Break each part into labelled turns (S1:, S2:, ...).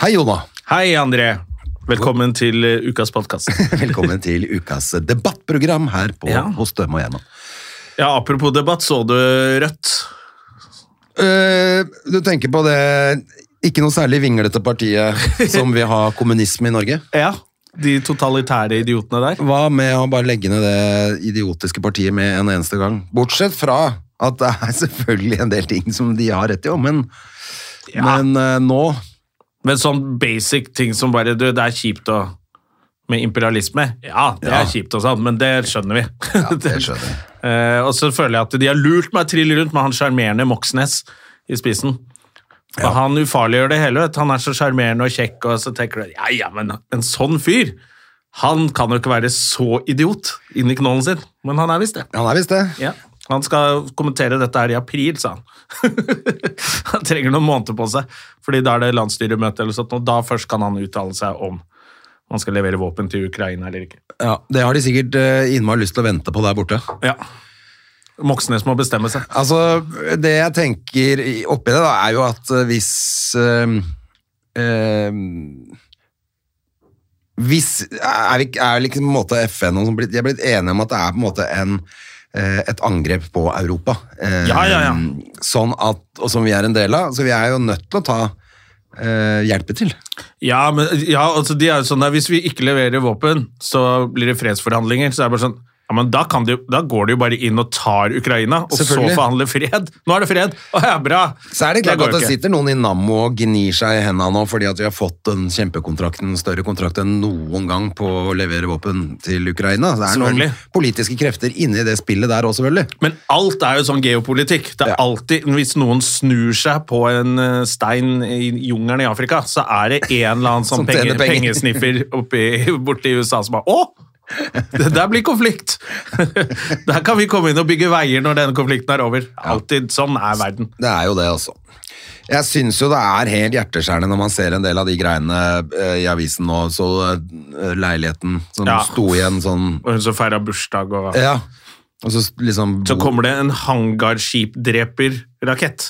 S1: Hei, Jonna.
S2: Hei, André. Velkommen til eh, ukas podkast.
S1: Velkommen til ukas debattprogram her på,
S2: Ja.
S1: hos Døm og Gjennom.
S2: Ja, apropos debatt, så du Rødt?
S1: Eh, du tenker på det ikke noe særlig vinglete partiet som vil ha kommunisme i Norge?
S2: Ja. De totalitære idiotene der.
S1: Hva med å bare legge ned det idiotiske partiet med en eneste gang? Bortsett fra at det er selvfølgelig en del ting som de har rett i, men, men eh, nå
S2: Men sånn basic ting som bare Du, det er kjipt å med imperialisme. Ja, det
S1: Ja.
S2: er kjipt og sånn, men det skjønner vi.
S1: ja, det skjønner jeg.
S2: Eh, og så føler jeg at de har lurt meg trill rundt med han sjarmerende Moxnes i spissen. For Han ufarliggjør det hele. Vet. du. Han er så sjarmerende og kjekk, og så tenker du ja, ja, men en sånn fyr han kan jo ikke være så idiot inni knollen sin, men han er visst det.
S1: Han er visst det.
S2: Ja. Han skal kommentere dette her i april, sa han. han trenger noen måneder på seg, fordi da er det landsstyremøte, eller sånt, og da først kan han uttale seg om man skal levere våpen til Ukraina eller ikke.
S1: Ja, det har de sikkert eh, innmari lyst til å vente på der borte.
S2: Ja. Moxnes må bestemme seg.
S1: Altså, det jeg tenker i- oppi det, da, er jo at eh, hvis eh, eh, Hvis Er, vi, ikke- er liksom på en måte FN og sånn blitt, De er blitt enige om at det er på en måte en eh, et angrep på Europa. Eh,
S2: Ja, ja, ja.
S1: Sånn at, og som vi er en del av. Så vi er jo nødt til å ta eh, hjelpe til.
S2: Ja, men ja, altså, de er jo sånn der, hvis vi ikke leverer våpen, så blir det fredsforhandlinger. Så er det bare sånn, ja, men da, kan de, jo- da går de jo bare inn og tar Ukraina, og så
S1: Selvfølgelig.
S2: forhandler fred. Nå er det fred! Å ja, bra!
S1: Så er det klart
S2: går
S1: at det
S2: jo ikke.
S1: sitter noen i Nammo og gnir seg i hendene nå fordi at vi har fått en kjempekontrakt, en større kontrakt enn noen gang på å levere våpen til Ukraina. Det er noen
S2: Selvfølgelig.
S1: politiske krefter inni det spillet der òg, selvfølgelig.
S2: Men alt er jo sånn geopolitikk. Det
S1: Ja.
S2: er alltid, Hvis noen snur seg på en eh, stein i jungelen i Afrika, så er det en eller annen
S1: Som
S2: sånn
S1: tjener
S2: penge,
S1: penger.
S2: pengesniffer oppi, borti USA som bare Å! Det der blir konflikt! der kan vi komme inn og bygge veier når denne konflikten er over. Alltid. Sånn er verden.
S1: Det er jo det, altså. Jeg syns jo det er helt hjerteskjærende når man ser en del av de greiene eh, i avisen nå, så eh, leiligheten som
S2: Ja.
S1: sto igjen sånn
S2: Og hun som feira bursdag og
S1: Ja. Og så liksom
S2: Så kommer det en hangarskipdreperrakett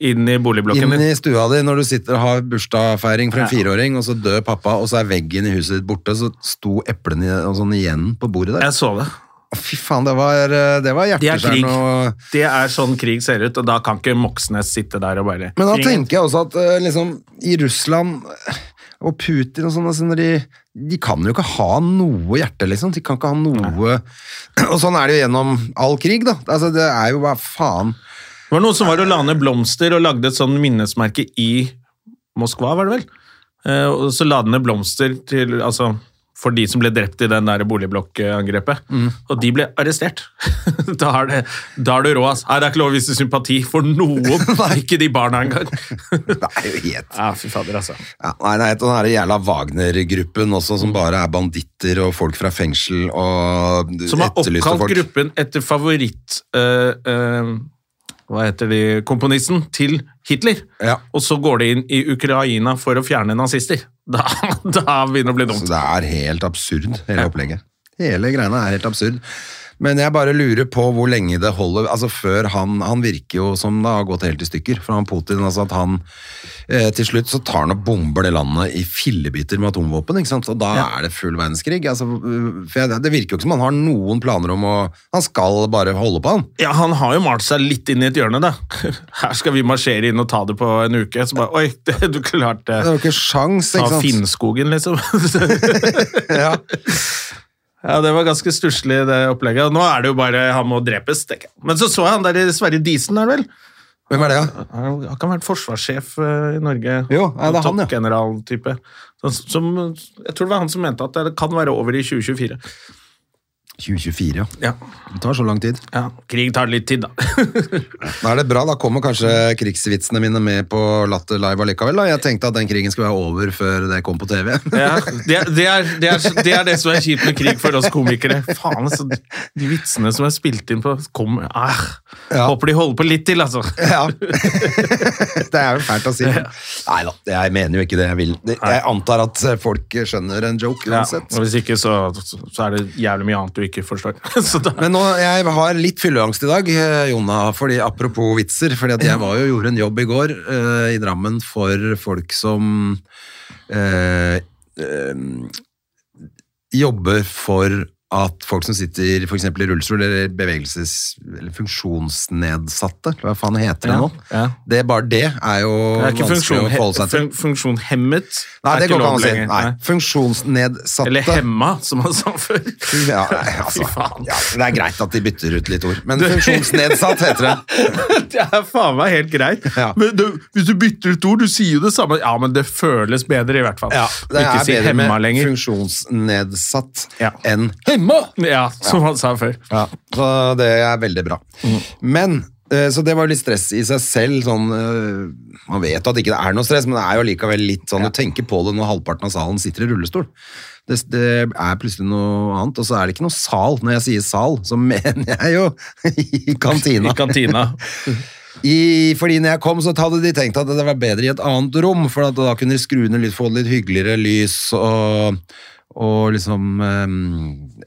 S2: inn i boligblokken
S1: Inn
S2: din.
S1: i stua di når du sitter og har bursdagsfeiring for en fireåring, og så dør pappa, og så er veggen i huset ditt borte, så sto eplene i- og sånn igjen på bordet der.
S2: Jeg så det.
S1: Fy faen, det var, eh, det var
S2: Det er krig.
S1: hjerteskjærende. og-
S2: Det er sånn krig ser ut, og da kan ikke Moxnes sitte der og bare
S1: Men da
S2: Ring
S1: tenker jeg også at eh, liksom, i Russland eh, og Putin og sånn, altså, når de, de kan jo ikke ha noe hjerte, liksom. De kan ikke ha noe Og sånn er det jo gjennom all krig, da. Altså, det er jo bare faen.
S2: Det var noen som var og la ned blomster og lagde et sånn minnesmerke i Moskva, var det vel? Eh, og så la de ned blomster til, altså, for de som ble drept i den der boligblokkangrepet. Og de ble arrestert. da, er det, da er du rå, ass. Nei, det er ikke lov å vise sympati for noen, ikke de barna engang.
S1: Det er jo helt
S2: ja, fy fader, altså.
S1: Ja, nei, nei, den her jævla Wagner-gruppen også, som bare er banditter og folk fra fengsel og
S2: Som har
S1: etterlyste
S2: oppkalt
S1: folk.
S2: gruppen etter favoritt... eh, eh, hva heter de, komponisten til Hitler.
S1: Ja.
S2: Og så går de inn i Ukraina for å fjerne nazister. Da, da begynner det å bli dumt.
S1: Så det er helt absurd, hele opplegget. Hele greiene er helt absurd. Men jeg bare lurer på hvor lenge det holder, altså før han, han virker jo som det har gått helt i stykker, for han Putin, altså at han, eh, til slutt så tar han og bomber det landet i fillebiter med atomvåpen, ikke sant? Og da er det full verdenskrig, altså, for jeg, det virker jo ikke som han har noen planer om å, han skal bare holde på han.
S2: Ja, han har jo malt seg litt inn i et hjørne, da. Her skal vi marsjere inn og ta det på en uke. Så bare, oi, det, du
S1: Det
S2: klarte
S1: er jo ikke sjans,
S2: Ta
S1: ikke sant?
S2: Finnskogen, liksom.
S1: Ja.
S2: ja, det var ganske stusslig, det opplegget. Og nå er det jo bare han må drepes, tenker jeg. Men så så jeg han der i Sverre Disen, er det vel?
S1: Hvem er det, ja?
S2: Han han kan ha vært forsvarssjef eh, i Norge.
S1: Jo, ja, det er han, ja.
S2: Toppgeneral-type. Som- Som, jeg tror det var han som mente at det kan være over i 2024.
S1: 2024, ja.
S2: Ja.
S1: Det tar så lang tid.
S2: ja. Krig tar litt tid, da.
S1: Da er det bra, da kommer kanskje krigsvitsene mine med på Latter Live allikevel. Da. Jeg tenkte at den krigen skulle være over før det kom på TV.
S2: Ja, det, er- det, er, det, er, det er det som er kjipt med krig for oss komikere. Faen, altså, De vitsene som er spilt inn på kom, ah,
S1: Ja.
S2: Håper de holder på litt til, altså.
S1: Ja. det er jo fælt å si. Nei da, jeg mener jo ikke det jeg vil. Jeg antar at folk skjønner en joke
S2: Ja,
S1: uansett.
S2: og hvis ikke, så, så er det jævlig mye annet du ikke forstår. Så da,
S1: Men nå, jeg har litt fylleangst i dag, eh, Jonna, fordi apropos vitser. fordi at jeg var jo gjorde en jobb i går eh, i Drammen for folk som eh, eh, jobber for at folk som sitter for eksempel i rullestol eller bevegelses- eller funksjonsnedsatte, hva faen heter det
S2: Ja,
S1: nå?
S2: ja.
S1: Det, bare det er jo
S2: det er ikke
S1: vanskelig å forholde
S2: funksjon,
S1: seg til.
S2: fun, funksjonhemmet.
S1: Nei,
S2: er
S1: det
S2: ikke
S1: går ikke an
S2: lov
S1: å si.
S2: lenger.
S1: Nei,
S2: Nei.
S1: funksjonsnedsatte.
S2: Eller hemma, som han sa før.
S1: Ja, nei, altså,
S2: Fy faen.
S1: ja, det er greit at de bytter ut litt ord, men funksjonsnedsatt heter det.
S2: Det er faen meg helt greit.
S1: Ja.
S2: Men du, hvis du bytter ut ord, du sier jo det samme. Ja, men det føles bedre, i hvert fall.
S1: det
S2: ikke
S1: er
S2: si
S1: bedre
S2: hemma
S1: med
S2: lenger.
S1: funksjonsnedsatt
S2: Ja.
S1: enn hemma!
S2: Ja, som han sa før.
S1: Ja, så det er veldig bra.
S2: Mm.
S1: Men, eh, så det var jo litt stress i seg selv, sånn, eh, man vet at ikke det er noe stress, men det er jo likevel litt sånn, du tenker på det når halvparten av salen sitter i rullestol. Det, det er plutselig noe annet, og så er det ikke noe sal. Når jeg sier sal, så mener jeg jo i kantina.
S2: I kantina.
S1: I, fordi når jeg kom, så hadde de tenkt at det var bedre i et annet rom, for at da kunne de skru ned litt, få litt hyggeligere lys, og, og liksom eh,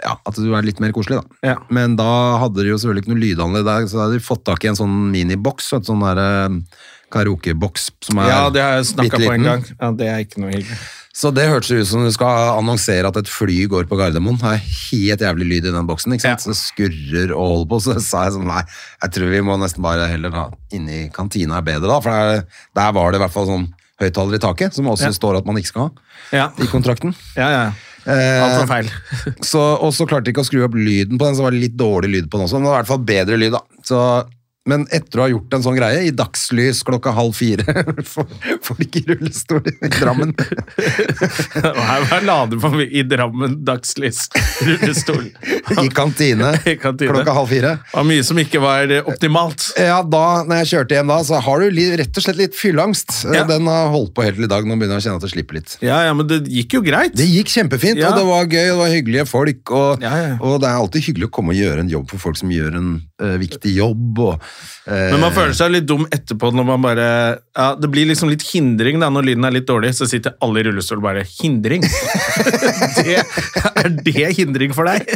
S1: Ja, at du er litt mer koselig, da.
S2: Ja.
S1: Men da hadde de jo selvfølgelig ikke noe lydanlegg der, så da hadde de fått tak i en sånn miniboks, et sånn derre karaokeboks som er
S2: Ja, det har jeg snakka på
S1: bitteliten.
S2: en gang. Ja, det er ikke noe hyggelig.
S1: Så det hørtes ut som du skal annonsere at et fly går på Gardermoen. Det er helt jævlig lyd i den boksen, ikke sant?
S2: Ja.
S1: Så det skurrer og holder på. Så sa jeg sånn, nei, jeg tror vi må nesten bare heller ha inne i kantina er bedre da, for der, der var det i hvert fall sånn høyttaler i taket, som også
S2: Ja.
S1: står at man ikke skal ha
S2: Ja,
S1: i kontrakten.
S2: ja, ja. Alt var
S1: Eh,
S2: feil.
S1: så, og så klarte de ikke å skru opp lyden på den, så var det litt dårlig lyd på den også, men det var i hvert fall bedre lyd da. Så, men etter å ha gjort en sånn greie, i dagslys klokka halv fire, for, folk i rullestol i Drammen,
S2: Og her var Lade på i Drammen dagslys. Rullestol.
S1: i kantine,
S2: I kantine.
S1: klokka halv fire.
S2: Det var mye som ikke var eh, optimalt.
S1: Ja, da når jeg kjørte hjem da, så har du li, rett og slett litt fylleangst. Eh,
S2: Ja.
S1: Den har holdt på helt til i dag. Nå begynner jeg å kjenne at det slipper litt.
S2: Ja, ja, men det gikk jo greit.
S1: Det gikk kjempefint,
S2: Ja.
S1: og det var gøy, og det var hyggelige folk. Og,
S2: Ja, ja.
S1: og det er alltid hyggelig å komme og gjøre en jobb for folk som gjør en eh, viktig jobb. Og, eh,
S2: Men man føler seg litt dum etterpå når man bare ja, Det blir liksom litt hindring da, når lyden er litt dårlig, så sitter alle i rullestol og bare Hindring! det, er det hindring for deg?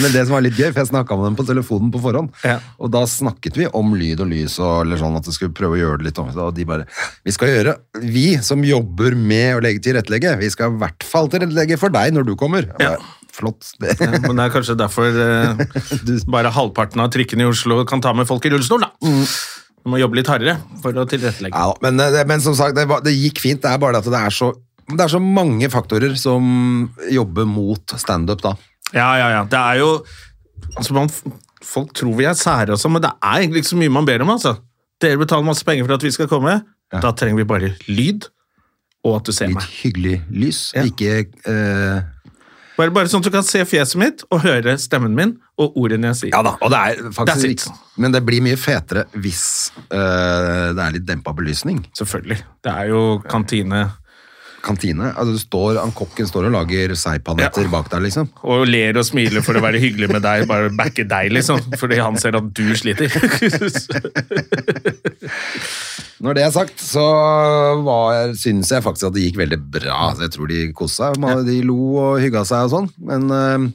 S1: Men det som var litt gøy, for jeg snakka med dem på telefonen på forhånd,
S2: Ja.
S1: og da snakket vi om lyd og lys og eller sånn at vi skulle prøve å gjøre det litt om. Og de bare Vi skal gjøre Vi som jobber med å legge tilrettelegge, vi skal i hvert fall tilrettelegge for deg når du kommer. Jeg
S2: Ja.
S1: bare, Flott. Det.
S2: Ja, men det er kanskje derfor eh, bare halvparten av trikkene i Oslo kan ta med folk i rullestol, da. Du må jobbe litt hardere for å tilrettelegge.
S1: Ja, da, men, eh, det- men som sagt, det, var- det gikk fint. Det er bare det at det er så det er så mange faktorer som jobber mot standup, da.
S2: Ja, ja, ja. Det er jo altså man, Folk tror vi er sære og sånn, men det er egentlig ikke så mye man ber om, altså. Dere betaler masse penger for at vi skal komme. Da trenger vi bare lyd, og at du ser
S1: Litt
S2: meg.
S1: hyggelig lys,
S2: Ja.
S1: ikke eh,
S2: Bare, bare sånn at du kan se fjeset mitt og høre stemmen min og ordene jeg sier.
S1: Ja da, og det er
S2: That's
S1: faktisk
S2: it.
S1: ikke- Men det blir mye fetere hvis eh, det er litt dempa belysning.
S2: Selvfølgelig. Det er jo kantine
S1: Kantine. Altså, du står, han Kokken står og lager seigpanetter
S2: Ja.
S1: bak der, liksom.
S2: og ler og smiler for å være hyggelig med deg, bare backe deg, liksom. Fordi han ser at du sliter.
S1: Når det er sagt, så var- syns jeg faktisk at det gikk veldig bra. Altså, Jeg tror de koste seg. Man- De lo og hygga seg og sånn. Men eh,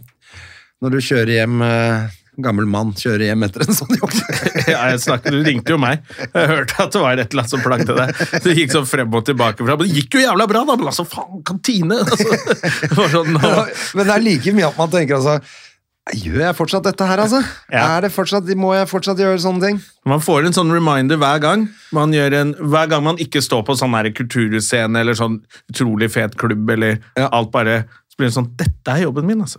S1: når du kjører hjem eh, Gammel mann kjører hjem etter en sånn jobb.
S2: ja, jeg snakket, du ringte jo meg. Jeg hørte at det var et eller annet som plagte deg. Så Det gikk sånn frem og tilbake. fra, Men det gikk jo jævla bra, da! Men altså, faen, kantine! Altså, det var sånn, nå-
S1: Men det er like mye at man tenker altså Gjør jeg fortsatt dette her, altså?
S2: Ja.
S1: Er det fortsatt, må jeg fortsatt gjøre sånne ting?
S2: Man får en sånn reminder hver gang man, gjør en, hver gang man ikke står på sånn her kulturhusscene eller sånn utrolig fet klubb eller
S1: Ja.
S2: alt bare Så blir det sånn Dette er jobben min, altså.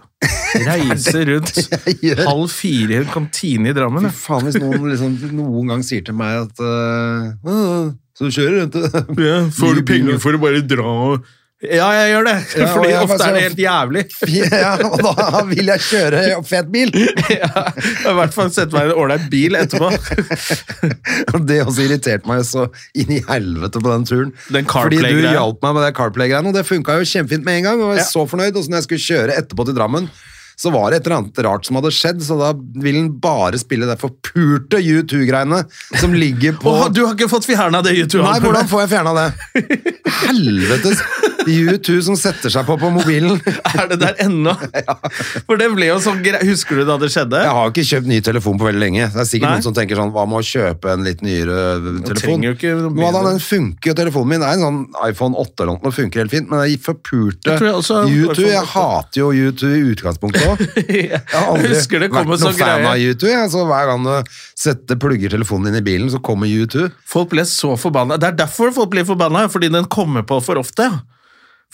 S2: Reise
S1: jeg gjør.
S2: rundt halv fire i en kantine i Drammen.
S1: Fy
S2: ja.
S1: faen, hvis noen liksom, noen gang sier til meg at eh, «Åh, Så du kjører rundt
S2: Ja,
S1: Ny
S2: får du
S1: bil,
S2: penger
S1: og-
S2: for å bare dra og Ja, jeg gjør det!
S1: Ja, og
S2: Fordi
S1: jeg sånn-
S2: ofte
S1: bare
S2: er det
S1: så-
S2: helt jævlig.
S1: Ja, og da vil jeg kjøre fet bil!
S2: Ja, I hvert fall sette meg i en ålreit bil etterpå.
S1: Og det også irriterte meg så inn i helvete på den turen.
S2: Den
S1: Fordi du
S2: CarPlay-greia.
S1: hjalp meg med det CarPlay-greiene, og det funka jo kjempefint med en gang. Og jeg var
S2: Ja.
S1: så fornøyd. Og så når jeg skulle kjøre etterpå til Drammen, så var det et eller annet rart som hadde skjedd, så da ville den bare spille det forpurte U2-greiene som ligger på
S2: Åh, du har ikke fått fjerna det
S1: Nei,
S2: YouTube-albumet?
S1: hvordan får jeg fjerna det? Helvetes U2 som setter seg på på mobilen.
S2: Er det der ennå? For det ble jo sånn gre- Husker du da det skjedde?
S1: Jeg har ikke kjøpt ny telefon på veldig lenge. Det er sikkert
S2: Nei.
S1: noen som tenker sånn, hva med å kjøpe en litt nyere eh, telefon?
S2: trenger jo ikke noe
S1: Nå da,
S2: bedre.
S1: den funker jo, telefonen min er en sånn iPhone 8 eller noe, den funker helt fint, men jeg forpurte
S2: Jeg tror jeg også har
S1: U2.
S2: iPhone 8.
S1: Jeg hater jo U2 i utgangspunktet også.
S2: Jeg
S1: Jeg har aldri
S2: husker det kom en
S1: vært
S2: sånn
S1: noen fan av
S2: greie.
S1: U2, jeg, så hver gang du setter, plugger telefonen din i bilen, så kommer U2.
S2: Folk ble så forbanna. Det er derfor folk blir forbanna, fordi den kommer på for ofte.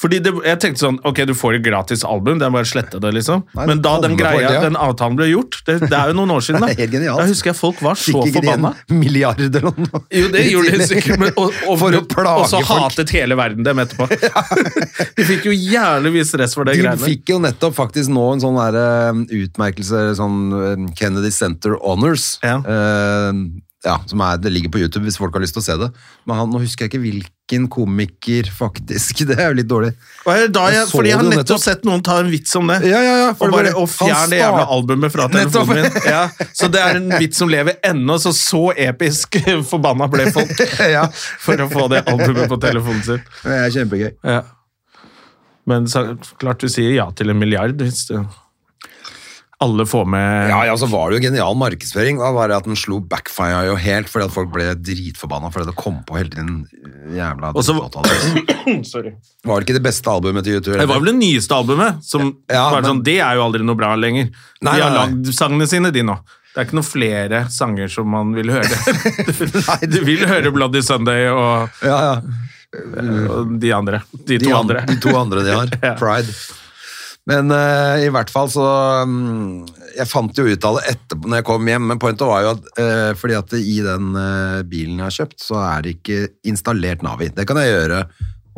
S2: Fordi det, jeg tenkte sånn, ok, du får et gratis album, det er bare å slette det, liksom.
S1: Nei,
S2: Men da den
S1: kommer på hele
S2: greia,
S1: tiden.
S2: den avtalen ble gjort, det, det er jo noen år siden da.
S1: Det er helt genialt.
S2: Da husker jeg folk var så
S1: Fikk ikke de en
S2: forbanna.
S1: milliard eller noe?
S2: Jo, det gjorde de
S1: Tidlig.
S2: sikkert, men, og, og,
S1: For å plage
S2: og så
S1: folk.
S2: hatet hele verden dem etterpå. De fikk jo jævlig mye stress for det
S1: De
S2: greiene.
S1: fikk jo nettopp faktisk nå en sånn der, eh, utmerkelse, sånn eh, Kennedy Center Honors.
S2: Ja.
S1: Eh, ja, som er, det ligger på YouTube hvis folk har lyst til å se det. Men han, nå husker jeg ikke hvilken komiker faktisk, det er jo litt dårlig.
S2: Og jeg- da jeg,
S1: Jeg så
S2: fordi jeg
S1: det
S2: har
S1: jo
S2: nettopp
S1: nettopp.
S2: sett noen ta en vits om det.
S1: Ja, ja, ja. for
S2: Og
S1: det
S2: bare
S1: var-
S2: å
S1: han
S2: fjerne det jævla
S1: start-
S2: albumet fra telefonen min.
S1: Nettopp.
S2: Ja, så det er en vits som lever ennå, så så episk forbanna ble folk
S1: ja,
S2: for å få det albumet på telefonen sin.
S1: det er kjempegøy.
S2: Ja. Men så, klart du sier ja til en milliard hvis det, alle får med
S1: Ja, ja, så var det jo genial markedsføring. Da var det at den slo backfire jo helt, fordi at folk ble dritforbanna fordi det kom på hele tiden eh, jævla
S2: Og så-
S1: drittavtale.
S2: Sorry.
S1: Var det ikke det beste albumet til YouTube?
S2: Det var vel det nyeste albumet som
S1: Ja,
S2: var
S1: men-
S2: sånn, Det er jo aldri noe bra lenger.
S1: Nei,
S2: de har
S1: nei, nei.
S2: lagd sangene sine, de nå. Det er ikke noen flere sanger som man vil høre. Du, du vil høre Bloody Sunday og,
S1: Ja, ja.
S2: og de andre. De,
S1: de
S2: to
S1: an-
S2: andre.
S1: De to andre de har.
S2: Ja.
S1: Pride. Men eh, i hvert fall så mm, Jeg fant jo ut av det etterpå når jeg kom hjem, men pointet var jo at eh, fordi at i den eh, bilen jeg har kjøpt, så er det ikke installert Navi. Det kan jeg gjøre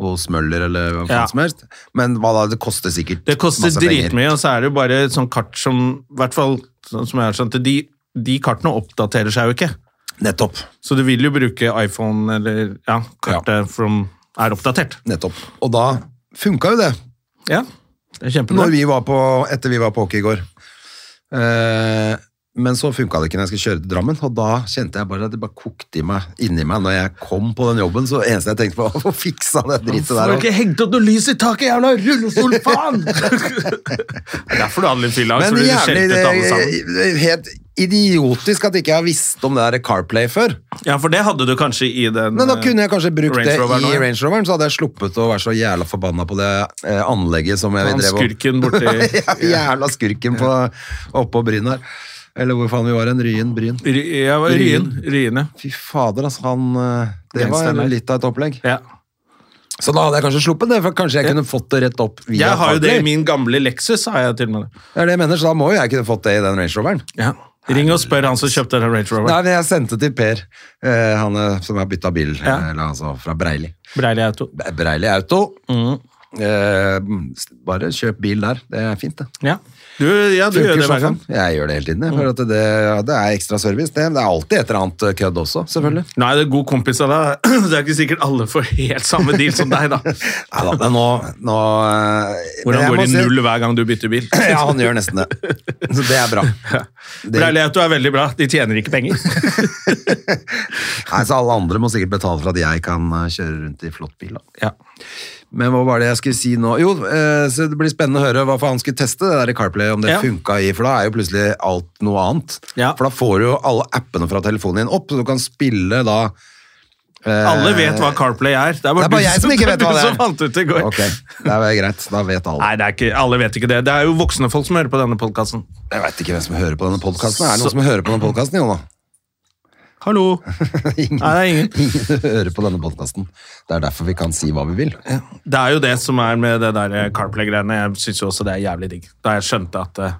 S1: hos Møller eller hva faen
S2: Ja.
S1: som helst, men hva da? Det koster sikkert
S2: Det koster
S1: masse penger.
S2: dritmye, og så er det jo bare et sånt kart som I hvert fall sånn som jeg har skjønt det, de, de kartene oppdaterer seg jo ikke.
S1: Nettopp.
S2: Så du vil jo bruke iPhone eller ja, kartet som er oppdatert.
S1: Nettopp. Og da funka jo det,
S2: Ja, det er kjempebra.
S1: når vi var på, etter vi var på hockey i går. Eh, men så funka det ikke når jeg skulle kjøre til Drammen, og da kjente jeg bare at det bare kokte i meg, inni meg når jeg kom på den jobben. Så det eneste jeg tenkte på, var å få fiksa det dritet
S2: Hvorfor har
S1: der.
S2: du
S1: Og,
S2: ikke hengt opp noe lys i taket, jævla rullestol, faen! det er derfor du hadde litt fylla, så
S1: men
S2: du
S1: jævlig
S2: skjelte ut alle sammen.
S1: det- det er Helt idiotisk at ikke jeg har visst om det der Carplay før.
S2: Ja, for det hadde du kanskje i den
S1: Men da kunne jeg kanskje brukt
S2: eh, Range
S1: det
S2: Roveren
S1: i
S2: også, ja.
S1: Range Roveren, så hadde jeg sluppet å være så jævla forbanna på det eh, anlegget som jeg
S2: Han
S1: drev og
S2: skurken borti
S1: Ja, Jævla skurken på, oppå Bryn her. Eller hvor faen vi var hen. Ryen. Bryn.
S2: Ry- ja, var Ryen. Ryen, ja.
S1: Fy fader, altså. Han eh, Det
S2: Gangsteren
S1: var
S2: der.
S1: litt av et opplegg.
S2: ja.
S1: Så da hadde jeg kanskje sluppet det, for kanskje jeg kunne fått det rett opp via
S2: Jeg har jo det
S1: Parkley.
S2: i min gamle Lexus, har jeg til og med. det.
S1: Det er det jeg mener, så da må jo jeg kunne fått det i den Range Roveren.
S2: Ja. Ring og spør han som kjøpte den
S1: Nei,
S2: Range Rover.
S1: men jeg sendte til Per, eh, han eh, som har bytta bil,
S2: Ja.
S1: eh, eller altså fra Breili.
S2: Breili Auto.
S1: Bre- Breili Auto.
S2: Mm.
S1: Eh, bare kjøp bil der, det er fint, det.
S2: Ja, du, ja, du gjør
S1: Funker
S2: det
S1: som
S2: hver gang. Mm.
S1: faen. Jeg gjør det hele tiden, jeg, for at det, ja, det er ekstra service. Det, det er alltid et eller annet eh, kødd også, selvfølgelig.
S2: Nei, det er god kompis av deg. Det er ikke sikkert alle får helt samme deal som deg, da.
S1: Nei da, men nå, nå eh, men
S2: Hvordan
S1: jeg må
S2: går det
S1: si-
S2: i null hver gang du bytter bil?
S1: Ja, han gjør nesten det. Så det er bra. Det,
S2: Breili Auto er veldig bra. De tjener ikke penger.
S1: nei, så alle andre må sikkert betale for at jeg kan eh, kjøre rundt i flott bil. Da.
S2: Ja.
S1: Men hva var det jeg skulle si nå? Jo, eh, så det blir spennende å høre hva faen han skulle teste det der i CarPlay, om det
S2: Ja.
S1: funka i, for da er jo plutselig alt noe annet.
S2: Ja.
S1: For da får du jo alle appene fra telefonen din opp, så du kan spille da eh,
S2: Alle vet hva CarPlay er. Det er bare,
S1: Det er bare
S2: du
S1: jeg som ikke vet
S2: du
S1: hva det er.
S2: som fant ut i går.
S1: Ok, det er vel greit. Da vet alle.
S2: Nei, det er ikke, alle vet ikke det. Det er jo voksne folk som hører på denne podkasten.
S1: Jeg veit ikke hvem som hører på denne podkasten. Er det
S2: Så-
S1: noen som hører på denne podkasten, Jonna?
S2: Hallo!
S1: Ingen,
S2: Nei, det er ingen.
S1: ingen hører på denne podkasten. Det er derfor vi kan si hva vi vil.
S2: Det er jo det som er med det der eh, CarPlay-greiene. Jeg syns jo også det er jævlig digg. Da jeg skjønte at eh,